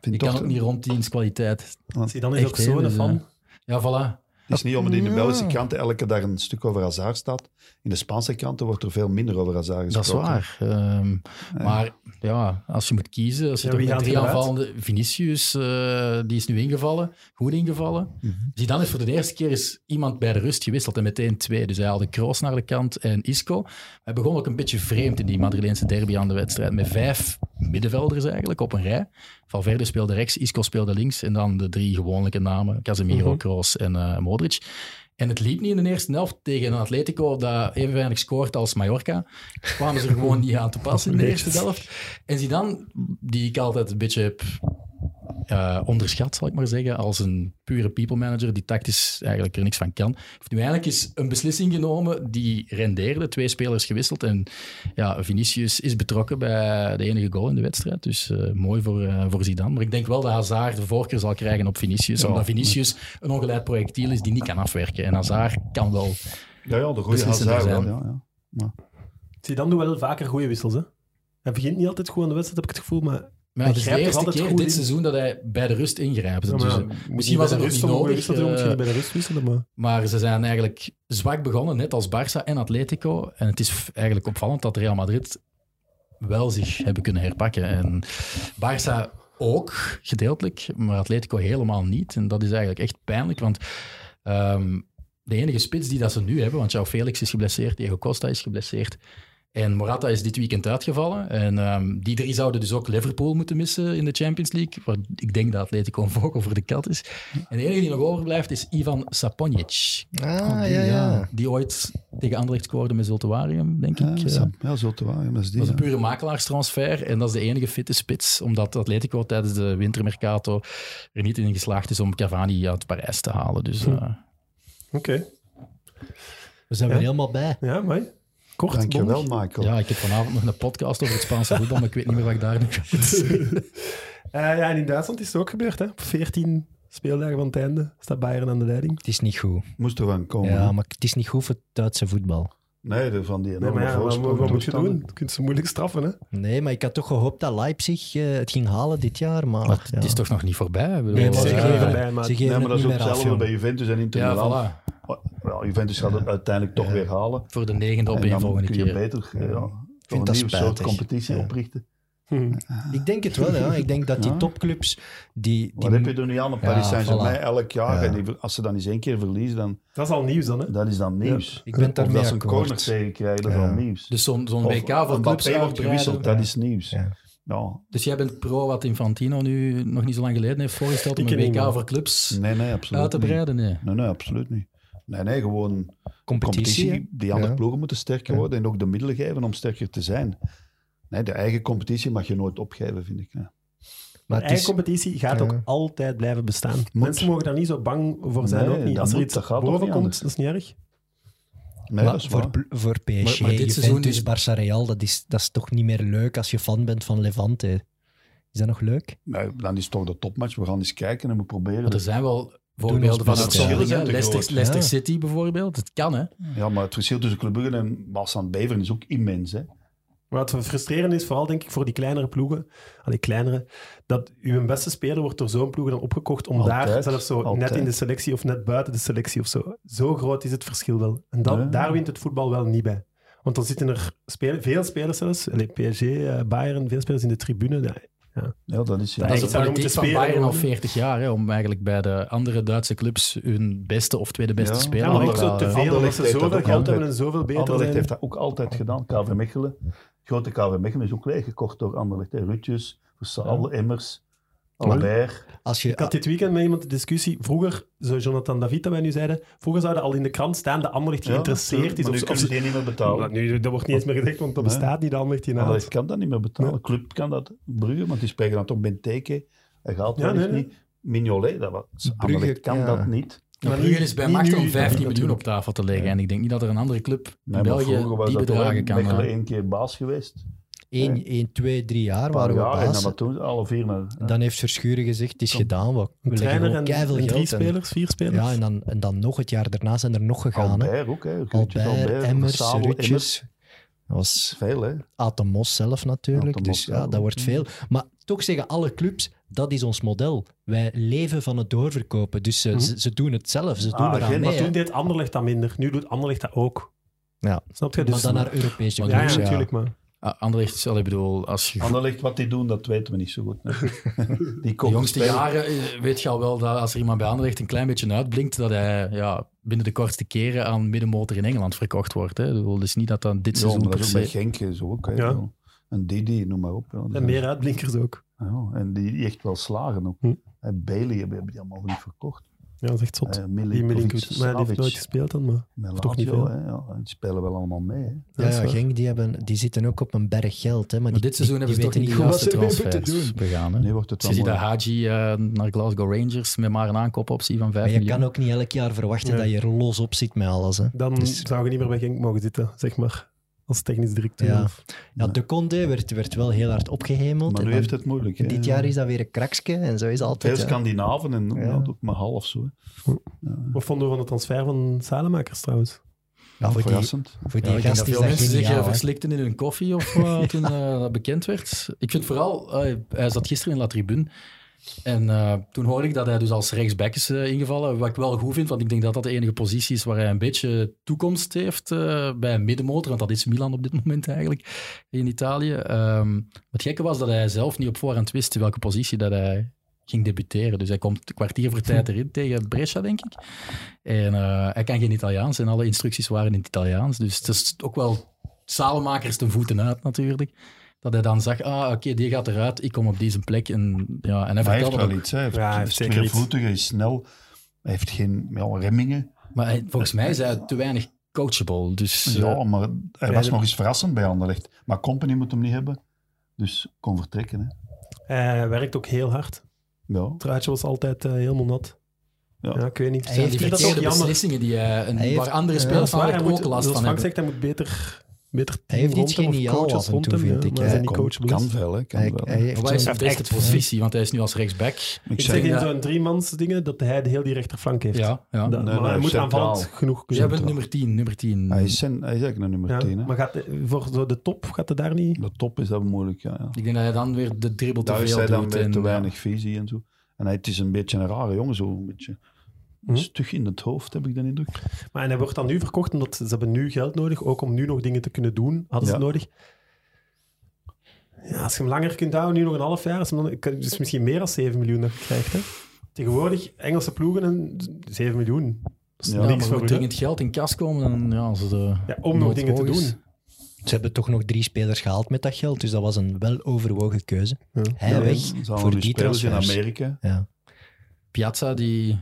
vind Ik toch, kan ook niet rond diens kwaliteit. Zie, dan is Echt, ook hè, zo'n dus, fan. eh, Ja, voilà. het is niet omdat in de Belgische kranten elke dag een stuk over Hazard staat. In de Spaanse kranten wordt er veel minder over Hazard Dat is gesproken. waar. Ehm, Maar ja, als je moet kiezen, als je Ja, toch wie met gaat drie eruit? aanvallende... Vinicius, eh, die is nu ingevallen. Goed ingevallen. Zidane is voor de eerste keer is iemand bij de rust gewisseld en meteen twee. Dus hij haalde Kroos naar de kant en Isco. Hij begon ook een beetje vreemd in die Madrileense derby aan de wedstrijd. Met vijf middenvelders eigenlijk op een rij. Valverde speelde rechts, Isco speelde links. En dan de drie gewoonlijke namen. Casemiro, Mhm. Kroos en eh, Modric. En het liep niet in de eerste helft tegen een Atletico dat even weinig scoort als Mallorca. Kwamen ze er gewoon niet aan te passen in de eerste helft. En Zidane, die ik altijd een beetje heb eh, onderschat, zal ik maar zeggen, als een pure people manager die tactisch eigenlijk er niks van kan. Heeft nu eindelijk eens een beslissing genomen die rendeerde, twee spelers gewisseld en ja, Vinicius is betrokken bij de enige goal in de wedstrijd, dus eh, mooi voor, eh, voor Zidane. Maar ik denk wel dat Hazard de voorkeur zal krijgen op Vinicius, omdat Vinicius een ongeleid projectiel is die niet kan afwerken en Hazard kan wel. Ja, ja, de goede Beslissender Hazard wel. zijn. ja, ja. Zie, dan doen we wel vaker goede wissels. Hè? Hij begint niet altijd goed aan de wedstrijd, heb ik het gevoel. Maar, Maar Hij het is de grijpt er eerste altijd keer goed dit in. seizoen dat hij bij de rust ingrijpt. Ja, maar Dus, ja, eh, moet je misschien bij was het de nog niet rust om een goede nodig, wissel te doen, eh, moet je niet bij de rust wisselen, maar... Maar ze zijn eigenlijk zwak begonnen, net als Barça en Atletico. En het is f- eigenlijk opvallend dat Real Madrid wel zich hebben kunnen herpakken. En Barça ook, gedeeltelijk, maar Atletico helemaal niet. En dat is eigenlijk echt pijnlijk, want ehm, de enige spits die dat ze nu hebben, want João Felix is geblesseerd, Diego Costa is geblesseerd, en Morata is dit weekend uitgevallen. En ehm, die drie zouden dus ook Liverpool moeten missen in de Champions League. Waar ik denk dat Atletico een vogel voor de kat is. En de enige die nog overblijft is Ivan Saponic. Oh, Ah, ja, ja. Die ooit tegen Anderlecht scoorde met Zultuarium, denk Ja, ik. ja, Eh, zo- ja, zo te waar. Dat is die. dat is ja. een pure makelaarstransfer en dat is de enige fitte spits, omdat Atletico tijdens de wintermercato er niet in geslaagd is om Cavani uit Parijs te halen. Dus eh, Oké, We zijn Ja. er helemaal bij. ja, mooi. Kort, Dankjewel, bondig. Michael. ja, ik heb vanavond nog een podcast over het Spaanse voetbal, maar ik weet niet meer wat ik daar nu ga zeggen. Eh, ja, en in Duitsland is het ook gebeurd. Hè? Op 14 speeldagen van het einde staat Bayern aan de leiding. Het is niet goed. Moest er van komen. ja, hè? maar het is niet goed voor het Duitse voetbal. Nee, de- van die Nee, enorme maar ja, wat, voorsprong. wat moet je toestanden. doen? Je kunt ze moeilijk straffen. Hè? Nee, maar ik had toch gehoopt dat Leipzig eh, het ging halen dit jaar. Maar, Maar ja. het is toch nog niet voorbij? Ik bedoel, Nee, het is eh, zeker Zeker niet even voorbij. bij, maar Ze Nee, geven maar het dat is niet ook meer af, hetzelfde jongen. bij Juventus en Inter Ja, Milan. voilà. Wel, Juventus gaat het uiteindelijk toch weer halen. Voor de negende op en een dan volgende kun je keer. beter eh, ja, toch dat een nieuwe soort spijtig. competitie Ja. oprichten. Hm. Ik denk het wel, ja. Ik denk dat die Ja. topclubs... Die, Wat die heb je er nu aan op Paris Ja, Saint-Germain elk jaar? Ja. En die ver- als ze dan eens één keer verliezen, dan, Dat is al nieuws dan. Hè? dat is dan nieuws. Ik ben het of dat daarmee ze een corner akkoord. tegenkrijgen, dat is Ja. al nieuws. Dus zo'n zo'n Of WK voor Mbappé clubs wordt gewisseld, uitbreiden. dat is nieuws. Ja. Nou, Dus jij bent pro wat Infantino nu nog niet zo lang geleden heeft voorgesteld om Ik een ken WK niemand. voor clubs nee, nee, Mm, absoluut uit te niet. breiden? Nee. Nee, nee, absoluut niet. Nee, nee, gewoon Competitie. competitie. Die andere Ja. ploegen moeten sterker worden en ook de middelen geven om sterker te zijn. Nee, de eigen competitie mag je nooit opgeven, vind ik. Ja. Maar het Eigen is, competitie gaat ook Ja. altijd blijven bestaan. Mensen mogen daar niet zo bang voor zijn. Nee, ook niet. dat Als er moet, iets dat gaat ook boven niet komt, anders. dat is niet erg. Nee, maar dat is voor, waar. pl- voor PSG, Maar- maar dit seizoen Juventus, is- Barça, Real, dat is, dat is toch niet meer leuk als je fan bent van Levante. Is dat nog leuk? Nee, dan is het toch de topmatch. We gaan eens kijken en we proberen. Maar er zijn wel ons voorbeelden van best, ja. uitzonderingen. Verschillen zijn te Leicester, groot. Leicester Ja. City bijvoorbeeld, het kan hè. het. Ja, maar het verschil tussen Club Brugge en Balsan Beveren is ook immens. Hè? Wat frustrerend is, vooral denk ik voor die kleinere ploegen, al die kleinere, dat uw beste speler wordt door zo'n ploeg dan opgekocht om daar Altijd, zelfs zo net altijd. in de selectie of net buiten de selectie of zo. Zo groot is het verschil wel. En dan, Ja. daar wint het voetbal wel niet bij. Want dan zitten er spelers, veel spelers zelfs, allee, PSG, eh, Bayern, veel spelers in de tribune. Ja, Ja, dat is, ja, Dat is ze de zouden politiek moeten van spelen, Bayern al hoor. 40 jaar, hè, om eigenlijk bij de andere Duitse clubs hun beste of tweede beste Ja. speler ja maar ook te zo halen. te veel, omdat Anderlecht ze heeft dat zoveel ook geld altijd. hebben en zoveel beter Anderlecht zijn. heeft dat ook altijd gedaan. KV Mechelen, grote KV Mechelen, is ook leeggekocht door Anderlecht. Hè. Rutjes, Versaal, Emmers, Albert. Als je, Ik had dit weekend met iemand de discussie. Vroeger, zo Jonathan David dat wij nu zeiden, vroeger zouden al in de krant staan de Anderlecht die geïnteresseerd Ja, is. maar nu Of, kunnen of, ze die niet meer betalen. Maar nu, dat wordt niet eens meer gezegd, want dat Nee. bestaat niet, de Anderlecht die naam. Anderlecht kan dat niet meer betalen. Nee. Club kan dat. Brugge, want die spreken dan toch Benteke. Hij gaat Ja, wel nee, eens nee. niet. Mignolet, dat was, Anderlecht kan ja. dat niet. Maar Maar Brugge nu- is bij niet macht nu, om niet 15 miljoen natuurlijk. op tafel te leggen. En ik denk niet dat er een andere club in Nee, maar vroeger België was die dat wel bedragen kan Mechelen halen. één keer baas geweest. 1, 1, 2, 3 jaar Een paar waren we jaar en dan baas. maar toen alle vier naar... En Dan heeft Verschuren gezegd, het is gedaan. We, we leggen Trainer gewoon en, keiveel en geld. drie in. spelers, vier spelers. Ja, en dan, en dan nog het jaar daarna zijn er nog gegaan. hè. Albert ook, hè. Rutjes, Albert, Emmers, Versaal, Rutjes. Dat was Veel, hè. Atemos zelf natuurlijk. Atemos dus ja, zelf, Mm. dat wordt ja. veel. Maar toch zeggen alle clubs, dat is ons model. Wij leven van het doorverkopen. Dus ze, Mhm. ze, ze doen het zelf. Ze doen Mm-hmm. Ah, eraan geen- mee. maar toen hè. deed Anderlecht dat minder. Nu doet Anderlecht dat ook. Ja. Snap je? maar Dus, dan naar Europese Maar ja, clubs. ja, ja. natuurlijk, maar... Ah, Anderlecht, is wel, ik bedoel, als je Anderlecht, wat die doen, dat weten we niet zo goed. hè. die de kopen jongste spelers. jaren eh, weet je al wel dat als er iemand bij Anderlecht een klein beetje uitblinkt, dat hij ja, binnen de kortste keren aan middenmotor in Engeland verkocht wordt. Hè. Ik bedoel, dus niet dat dan dit Ja, maar seizoen dat per is ook se... met Genk hè, zo ook. Hè, Ja. zo. En Didi, noem maar op. Ja. Dus En meer uitblinkers ook. ja, en die echt wel slagen ook. Hm. En Bailey hebben hebben die allemaal niet verkocht. Ja, dat is echt zot. Eh, die Milinkovic, Milinkovic. Maar die heeft nooit Savic, gespeeld dan, maar... met toch niet Lazio, veel. hè, ja, die spelen wel allemaal mee. hè. dat Ja, is ja, waar. Genk, die, hebben, die zitten ook op een berg geld. Hè, maar Maar die, dit seizoen die, hebben ze toch die niet weten de juiste niet ze ermee transfers begaan. Hè? Nu wordt het Je ziet allemaal... dat Haji eh, naar Glasgow Rangers met maar een aankoopoptie van 5 Maar je miljoen. kan ook niet elk jaar verwachten Ja. dat je er los op zit met alles. Hè. Dan Dus- zou je niet meer bij Genk mogen zitten, zeg maar. Als technisch directeur. Ja. Of- Ja, de Conde werd, werd wel heel hard opgehemeld. Maar En nu dan- heeft het moeilijk. hè. Dit jaar is dat weer een kraksje en zo is het Veel altijd. ja. Scandinaven en ja. Ja. dat ook maar half zo. hè. Wat vonden we van de transfer van Salemakers trouwens? Ja, voor, die, Verrassend. voor die Ja, ik denk gast dat is veel dat mensen zich eh, geniaal. hè. verslikten in hun koffie of eh, toen eh, dat bekend werd. Ik vind vooral, eh, hij zat gisteren in La Tribune. En eh, toen hoorde ik dat hij dus als rechtsback is eh, ingevallen. Wat ik wel goed vind, want ik denk dat dat de enige positie is waar hij een beetje toekomst heeft eh, bij een middenmotor. Want dat is Milan op dit moment eigenlijk in Italië. Ehm het gekke was dat hij zelf niet op voorhand wist in welke positie dat hij ging debuteren. Dus hij komt een kwartier voor tijd erin tegen Brescia, denk ik. En eh, hij kan geen Italiaans en alle instructies waren in het Italiaans. Dus het is ook wel zalenmakers ten voeten uit natuurlijk. Dat hij dan zag, ah oké, die gaat eruit, ik kom op deze plek. En, ja, en hij Hij heeft vertelde wel ook- iets. hè. Hij heeft, Ja, hij hij heeft is zeker iets. tweevoetig, hij is snel. Hij heeft geen ja, remmingen. Maar hij- volgens mij is hij te weinig coachable. Dus eh, Ja, maar hij was de- nog eens verrassend bij Anderlecht. Maar Company moet hem niet hebben. Dus kon vertrekken. Hè. Hij werkt ook heel hard. Ja. Het truitje was altijd eh, helemaal nat. Ja. Ja. ik weet niet. Hij zijn heeft die Vind je dat ook verkeerde jammer? beslissingen die hij, en Hij heeft- waar andere ja, Ja, spelers dat is waar, van hij ook moet, last zoals van Frank hebben. zegt, hij moet beter, beter Hij heeft team iets rond hem of geniaal coaches af en rond toe, hem, vind ja, ik, maar hij hè. zijn niet Kon- coachable. kan wel. Hè. Kan Hij, wel. hij heeft Maar Wat is zo'n- zijn beste echt veel. positie? Want hij is nu als rechtsback. ik zei, Ik zeg in dat- zo'n driemans dingen dat hij de heel die rechterflank heeft. Ja, ja. Dus Dat- Nee, maar nee, hij moet centraal. aanvallend genoeg Jij kunnen. bent nummer 10, nummer 10. hij, is zijn, hij is eigenlijk een nummer Ja, 10. Hè. maar gaat, de- voor zo de top gaat het daar niet... De top is dat moeilijk. Ja, ja. Ik denk dat hij dan weer de dribbel te Daar is veel hij doet. dan weer en, te weinig visie en zo. En hij, het is een beetje een rare jongen, zo een beetje Hm? stug in het hoofd, heb ik de indruk. Maar en hij wordt dan nu verkocht, omdat ze hebben nu geld nodig, ook om nu nog dingen te kunnen doen, hadden ze Ja. het nodig. Ja, als je hem langer kunt houden, nu nog een half jaar, is hem dan, ik- is het misschien meer dan 7 miljoen dat je krijgt. Hè? Tegenwoordig, Engelse ploegen, en 7 miljoen. Dat is Ja, Ja, niks maar moet voor hun, hè? dringend geld in kas komen. En, ja, als het, eh, Ja, om nog nooit dingen te hoog is. doen. Ze hebben toch nog drie spelers gehaald met dat geld, dus dat was een weloverwogen keuze. Ja. Hij weg voor die spelers in transfers. Amerika. Ja. Piazza, die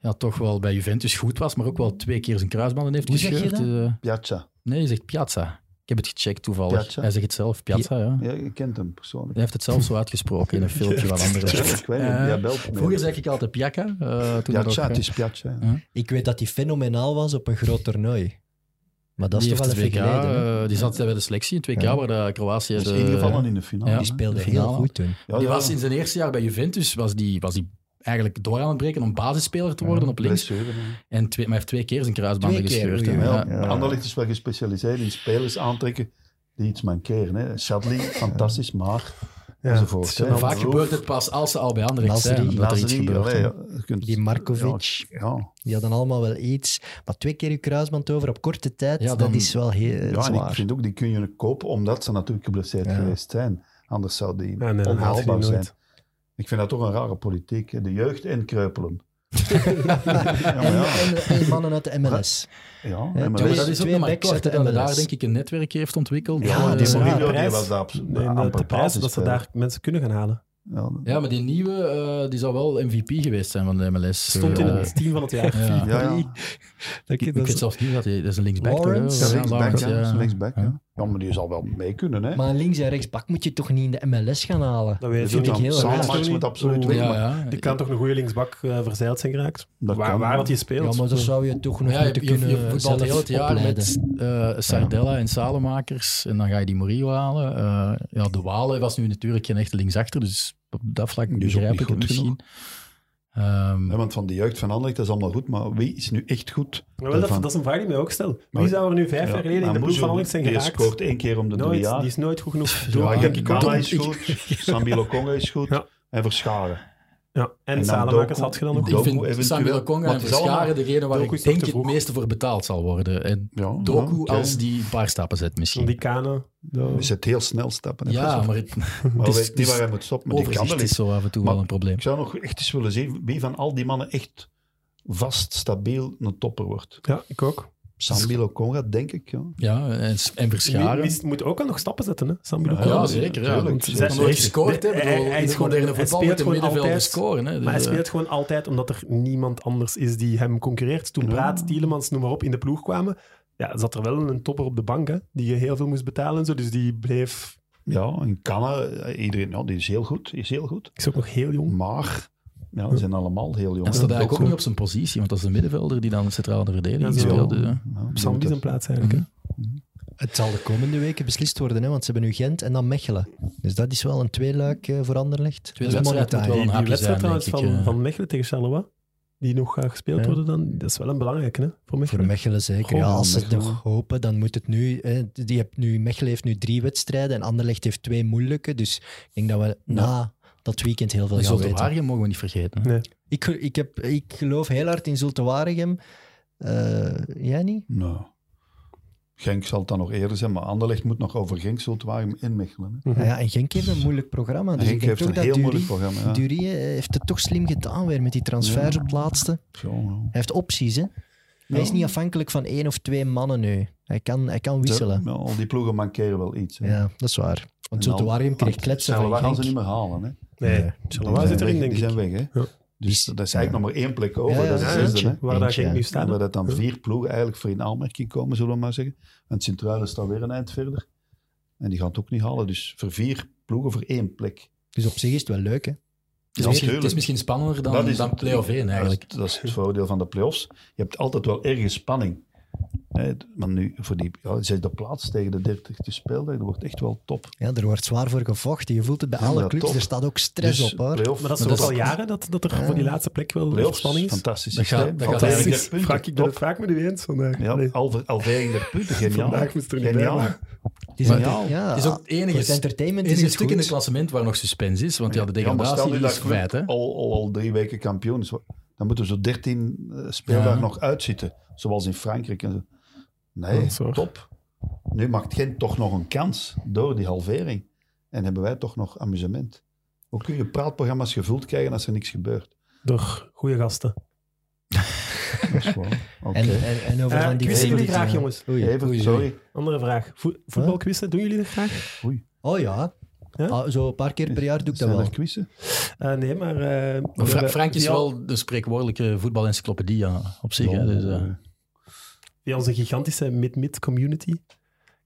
ja, toch wel bij Juventus goed was, maar ook wel twee keer zijn kruisbanden heeft Hoe zeg je gescheurd. Eh, Piazza. nee, je zegt Piazza. Ik heb het gecheckt toevallig. Piazza? Hij zegt het zelf, Piazza, ja. Ja, je kent hem persoonlijk. Hij heeft het zelf zo uitgesproken in een filmpje van anderen. Ik weet het, Eh, jij belt me. Vroeger zei ik altijd Piakka. eh toen dat ook, Piazza, eh, het dus is Piazza. ja. Ik weet dat hij fenomenaal was op een groot toernooi. Maar dat is die toch wel heeft even het WK, geleden. hè? eh, die zat bij de selectie in 2K, Ja. Dus waar de Kroatië... Hij is de- ingevallen in de finale. ja. hè. Die speelde de heel finale. goed toen. Ja, die ja. was in zijn eerste jaar bij Juventus, was die, was die eigenlijk door aan het breken om basisspeler te worden op links. Blessure, hè. En twee, maar hij heeft twee keer zijn kruisbanden Twee keer, gescheurd. hè. oei, oei. Ja, Ja. Ja. Anderlecht is wel gespecialiseerd in spelers aantrekken die iets mankeren. Hè. Shadley, fantastisch, maar Ja. enzovoort. hè. Maar vaak gebeurt het pas als ze al bij anderen Nasri, zijn, dat er iets Nasri, gebeurt. allee, hè. ja, je kunt- Die Markovic, Ja, ja. die hadden allemaal wel iets. Maar twee keer je kruisband over op korte tijd, Ja, dan- dat is wel heel eh, Ja, en ik zwaar. vind ook, die kun je kopen omdat ze natuurlijk geblesseerd Ja. geweest zijn. Anders zou die Ja, nee, dan haalt hij onhaalbaar die zijn. nooit. Ik vind dat toch een rare politiek. hè. De jeugd en kreupelen. ja, maar En, ja. en, en mannen uit de MLS. Ja, Ja, maar toen Maar weet is dat je- is ook twee nog maar backs kort, hè, uit de dat hij daar MLS. denk ik een netwerk heeft ontwikkeld. Ja, Eh, dat is die waar. Mourinho die Prijs- was daar op- Nee, amper de, de prijs dat ze basisspeler. daar mensen kunnen gaan halen. Ja, ja, maar die nieuwe eh, die zou wel MVP geweest zijn van de MLS. Stond in Eh, het team van het jaar. ja. ja, ja. Dank je, Ik dat weet zelfs niet dat hij... Dat is een linksback. toch, hè? Lawrence? Ja, Ja, linksback, Lawrence, ja. ja. linksback, ja. Ja, maar die zal wel mee kunnen, hè. Maar links en rechts bak moet je toch niet in de MLS gaan halen? Dat weet Zo ik vind dan, ik heel raar. Sandmax moet absoluut Oeh, weg, Ja, maar ja. Die kan toch een goede linksbak eh, verzeild zijn geraakt? Dat waar, kan. waar dat hij Ja, speelt. maar dan zou je toch nog Ja, je, moeten je, kunnen je voetbalt zelf heel het jaar opleiden. met eh, Sardella en Salemakers. En dan ga je die Murillo halen. Eh, ja, de Walen was nu natuurlijk geen echte linksachter. Dus op dat vlak Die is ook begrijp niet ik het goed misschien. Ehm, Ja, want van de jeugd van Anderlecht, dat is allemaal goed, maar wie is nu echt goed? Maar wel, dat, Daarvan. dat is een vraag die ik mij ook stel. Maar- Wie zou er nu vijf jaar geleden in de Amuzu, ploeg van Alex zijn Die geraakt? scoort één keer om de drie Nooit, jaar. die is nooit goed genoeg. Ja, Door- Jackie Kama Door- is goed, Sambi Lokonga is goed Ja. en Verscharen. Ja, en dan Salemakers Doku. had je dan ook. Ik Doku vind eventueel. Samuel Maar Okonga en het is allemaal- Verscharen degene waar Doku is ik nog denk te het vroeg. meeste voor betaald zal worden. En Ja, Doku ja, oké. als die een paar stappen zet misschien. Die Kane. Is het heel snel stappen. hè, ja, Vincent? maar het, maar het is- we weten niet het is waar hij moet stoppen, maar die kan overzicht wel is eens. zo af en toe Maar- wel een probleem. Ik zou nog echt eens willen zien wie van al die mannen echt vast, stabiel een topper wordt. Ja, ik ook. Sambi Conga, denk ik. Ja. Ja, en, en Wie- Verscharen. wie moet ook wel nog stappen zetten, hè? Sambi ja, Lokeren. zeker. Ja. tuurlijk. Want Hij Hij heeft nooit heeft- gescoord. hè. hij- Ik bedoel, hij in is het gewoon- moderne hij voetbal moet speelt de gewoon middenvelder altijd- scoren. Hè. Dus, Maar hij eh, speelt gewoon altijd omdat er niemand anders is die hem concurreert. Toen Praat, Tielemans, noem maar op, in de ploeg kwamen, ja, zat er wel een topper op de bank, hè, die je heel veel moest betalen. en Zo, dus die bleef... Ja, en Kanna, eh, iedereen, nou, die is heel goed, is heel goed. is ook nog heel jong. Maar, ja, ze zijn allemaal heel jong. En staat Ja, eigenlijk ook zo. niet op zijn positie, want dat is de middenvelder die dan centraal de verdediging Ja, zo. speelt. dus, ja. Ja, Op Sambi zijn plaats eigenlijk. hè. Het zal de komende weken beslist worden, hè, want ze hebben nu Gent en dan Mechelen. Dus dat is wel een tweeluik eh voor Anderlecht. Tweede Dat is wedstrijd moet monetair. wel een Die hapje zijn, wedstrijd trouwens denk van, ik, eh. van Mechelen tegen Charleroi, die nog gaat gespeeld Ja. worden, dan, dat is wel een belangrijke hè, voor Voor Mechelen. Mechelen zeker. Goh, ja, als ze het Mechelen. nog hopen, dan moet het nu, hè, die hebt nu... Mechelen heeft nu drie wedstrijden en Anderlecht heeft twee moeilijke. Dus ik denk dat we na dat weekend heel veel En gaan Zolder weten. Waregem mogen we niet vergeten. hè. Nee. Ik, ik, heb, ik geloof heel hard in Zulte Waregem. Eh, jij niet? Nou, Genk zal het dan nog eerder zijn, maar Anderlecht moet nog over Genk, Zultwagen en Mechelen. hè. Mhm. Nou ja, en Genk heeft een moeilijk programma. Dus Hm. Genk ik denk heeft toch een dat heel moeilijk Durie, programma. Ja. Durie, eh, heeft het toch slim gedaan weer met die transfers Ja. op het laatste. Zo, ja. Hij heeft opties, hè. Hij is niet afhankelijk van één of twee mannen nu. Hij kan, hij kan wisselen. Ja, eh, al die ploegen mankeren wel iets. Ja, hè. dat is waar. En Want Zulte dan- Waregem kreeg kletsen Charleroi van gaan ze niet Genk. meer halen. Hè. Die Nee, Nee. Charleroi zijn zit erin, weg, denk Die zijn ik. weg, hè. Ja. Dus dat is eigenlijk nog maar één plek over. Ja, ja, dat is ja, de zesde, eentje. hè. Waar daar Eentje, Genk ja. nu En staat. waar hè. dat dan vier ploegen eigenlijk voor in aanmerking komen, zullen we maar zeggen. Want Sint-Truiden staat weer een eind verder. En die gaan het ook niet halen. Dus voor vier ploegen voor één plek. Dus op zich is het wel leuk, hè. Het, is Ja, misschien, het is tuurlijk. misschien spannender dan, dan het- play-off 1 eigenlijk. Dat is, dat is het voordeel van de play-offs. Je hebt altijd wel ergens spanning. Hè, het- Maar nu, voor die ja, zesde plaats tegen de dertigste speeldag, dat wordt echt wel top. Ja, er wordt zwaar voor gevochten. Je voelt het bij Ja, alle dat clubs. top. Er staat ook stress Dus op, hoor. play-off- Maar dat is Maar ook dat al is- jaren dat, dat er voor die laatste plek wel echt play-offs, spanning is. Fantastisch Dat gaat- systeem. dat gaat Alvegen eigenlijk- der punten, Frank, ik ben het top. vaak met u eens vandaag. Ja, Nee. alve- alvegen der punten, geniaal. Vandaag moest er niet bij, Geniaal. maar- Het is, Maar- ook- ja, Het is ook het enige- voor het Het entertainment is een het stuk goed. in het klassement waar nog suspense is, want ja, de Ja, maar stel degradatie nu is dat Oh, feit. Hè? Club al, al, al drie weken kampioen is. Dan moeten we zo 13 eh, speeldagen Ja. nog uitzitten. Zoals in Frankrijk. En zo. Ja, Nee, dat is waar. top. Nu maakt Gent toch nog een kans door die halvering. En hebben wij toch nog amusement. Hoe kun je praatprogramma's gevuld krijgen als er niks gebeurt? Door goede gasten. Dat is waar. Oké. En, en, en over Eh, van die ik wist jullie favorieten, graag, ja. jongens. Oei. Even, Oei, oei. sorry. Andere vraag. Vo voetbalquizzen, doen jullie dat graag? Oh ja. Ja? Ah, zo een paar keer per jaar doe ik dat Zijn wel. er quizzen? Eh, nee, maar... eh, Maar Fra- we- Frank is via- wel de spreekwoordelijke voetbalencyclopedie ja, op zich. Oh. Hè? Dus, eh, Via onze gigantische mid-mid community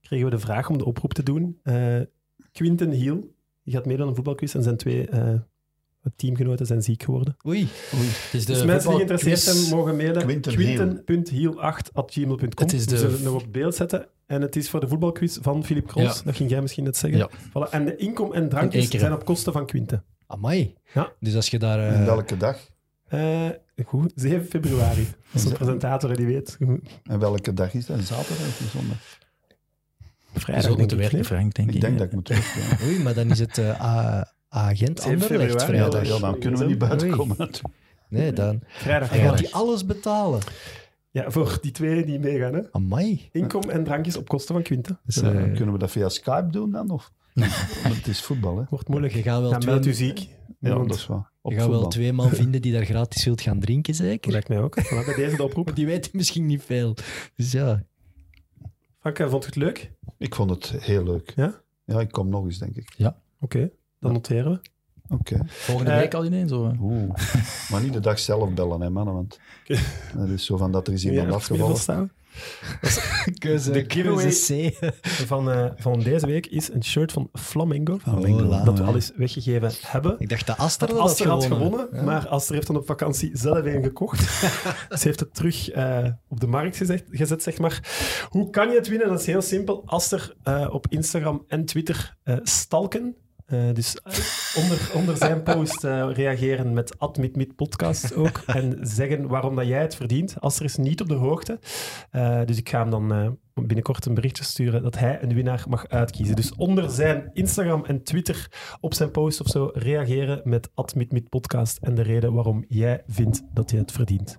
kregen we de vraag om de oproep te doen. Eh, Quinten Hiel, die gaat meedoen aan een voetbalquiz en zijn twee eh, teamgenoten zijn ziek geworden. Oei. het is de dus mensen die voetbalquiz- geïnteresseerd zijn, mogen mailen. Quinten Quinten.hiel8.gmail.com Het is de- Dus We zullen het nog op beeld zetten. En het is voor de voetbalquiz van Filip Kroos. Ja. Dat ging jij misschien net zeggen. Ja. Voilà. En de inkom en In één drankjes keer, zijn hè. op kosten van Quinten. Amai. Ja. Dus als je daar... eh, En welke dag? Eh, goed, 7 februari. Dat is een presentator hè, die weet. En welke dag is dat? Zaterdag of zondag? Je Vrijdag zult denk moeten ik, werken, nee? Frank, denk ik. Ik denk dat ik moet terug. Ja. Oei, maar dan is het eh, A- agent Zeven Anderlecht februari, Ja, vrijdag. dan, ja, dan kunnen we niet buiten Oei. komen. Nee, dan. Vrijdag. Hij gaat die alles betalen. Ja, voor die twee die meegaan. Hè. Amai. Inkom en drankjes op kosten van Quinten. Dus, Ja, eh, Kunnen we dat via Skype doen dan? Of? Want het is voetbal, hè? Wordt moeilijk. moeilijk. Je gaat wel, Ja, meld u twee, ziek. Ja, Want- dat is wel. Op je gaat wel voetbal. twee man vinden die daar gratis wilt gaan drinken, zeker? Lijkt mij ook. Voilà, bij deze de oproep. Maar die weten misschien niet veel. Dus ja. Frank, eh, vond je het leuk? Ik vond het heel leuk. Ja? Ja, ik kom nog eens, denk ik. Oké, dan noteren we. Oké. Volgende Eh, week al ineens. Hoor. Oeh. maar niet de dag zelf bellen, hè, mannen. Want Oké. dat is zo van dat er is iemand Ja, afgevallen. staan. Keuze, De giveaway. keuze C. Van, eh, van deze week is een shirt van Flamingo. Flamingo, dat we ja. al eens weggegeven hebben. Ik dacht dat Aster dat Aster had had gewonnen. gewonnen, maar Aster heeft dan op vakantie zelf een gekocht. Ze heeft het terug eh, op de markt gezet, gezet, zeg maar. Hoe kan je het winnen? Dat is heel simpel. Aster eh, op Instagram en Twitter eh, stalken. Eh, dus eh, onder, onder zijn post eh, reageren met admitmitpodcast ook. En zeggen waarom dat jij het verdient. Aster is niet op de hoogte. Eh, dus ik ga hem dan eh, binnenkort een berichtje sturen dat hij een winnaar mag uitkiezen. Dus onder zijn Instagram en Twitter op zijn post of zo reageren met admitmitpodcast en de reden waarom jij vindt dat je het verdient.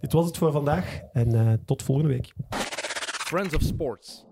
Dit was het voor vandaag en eh, tot volgende week. Friends of Sports.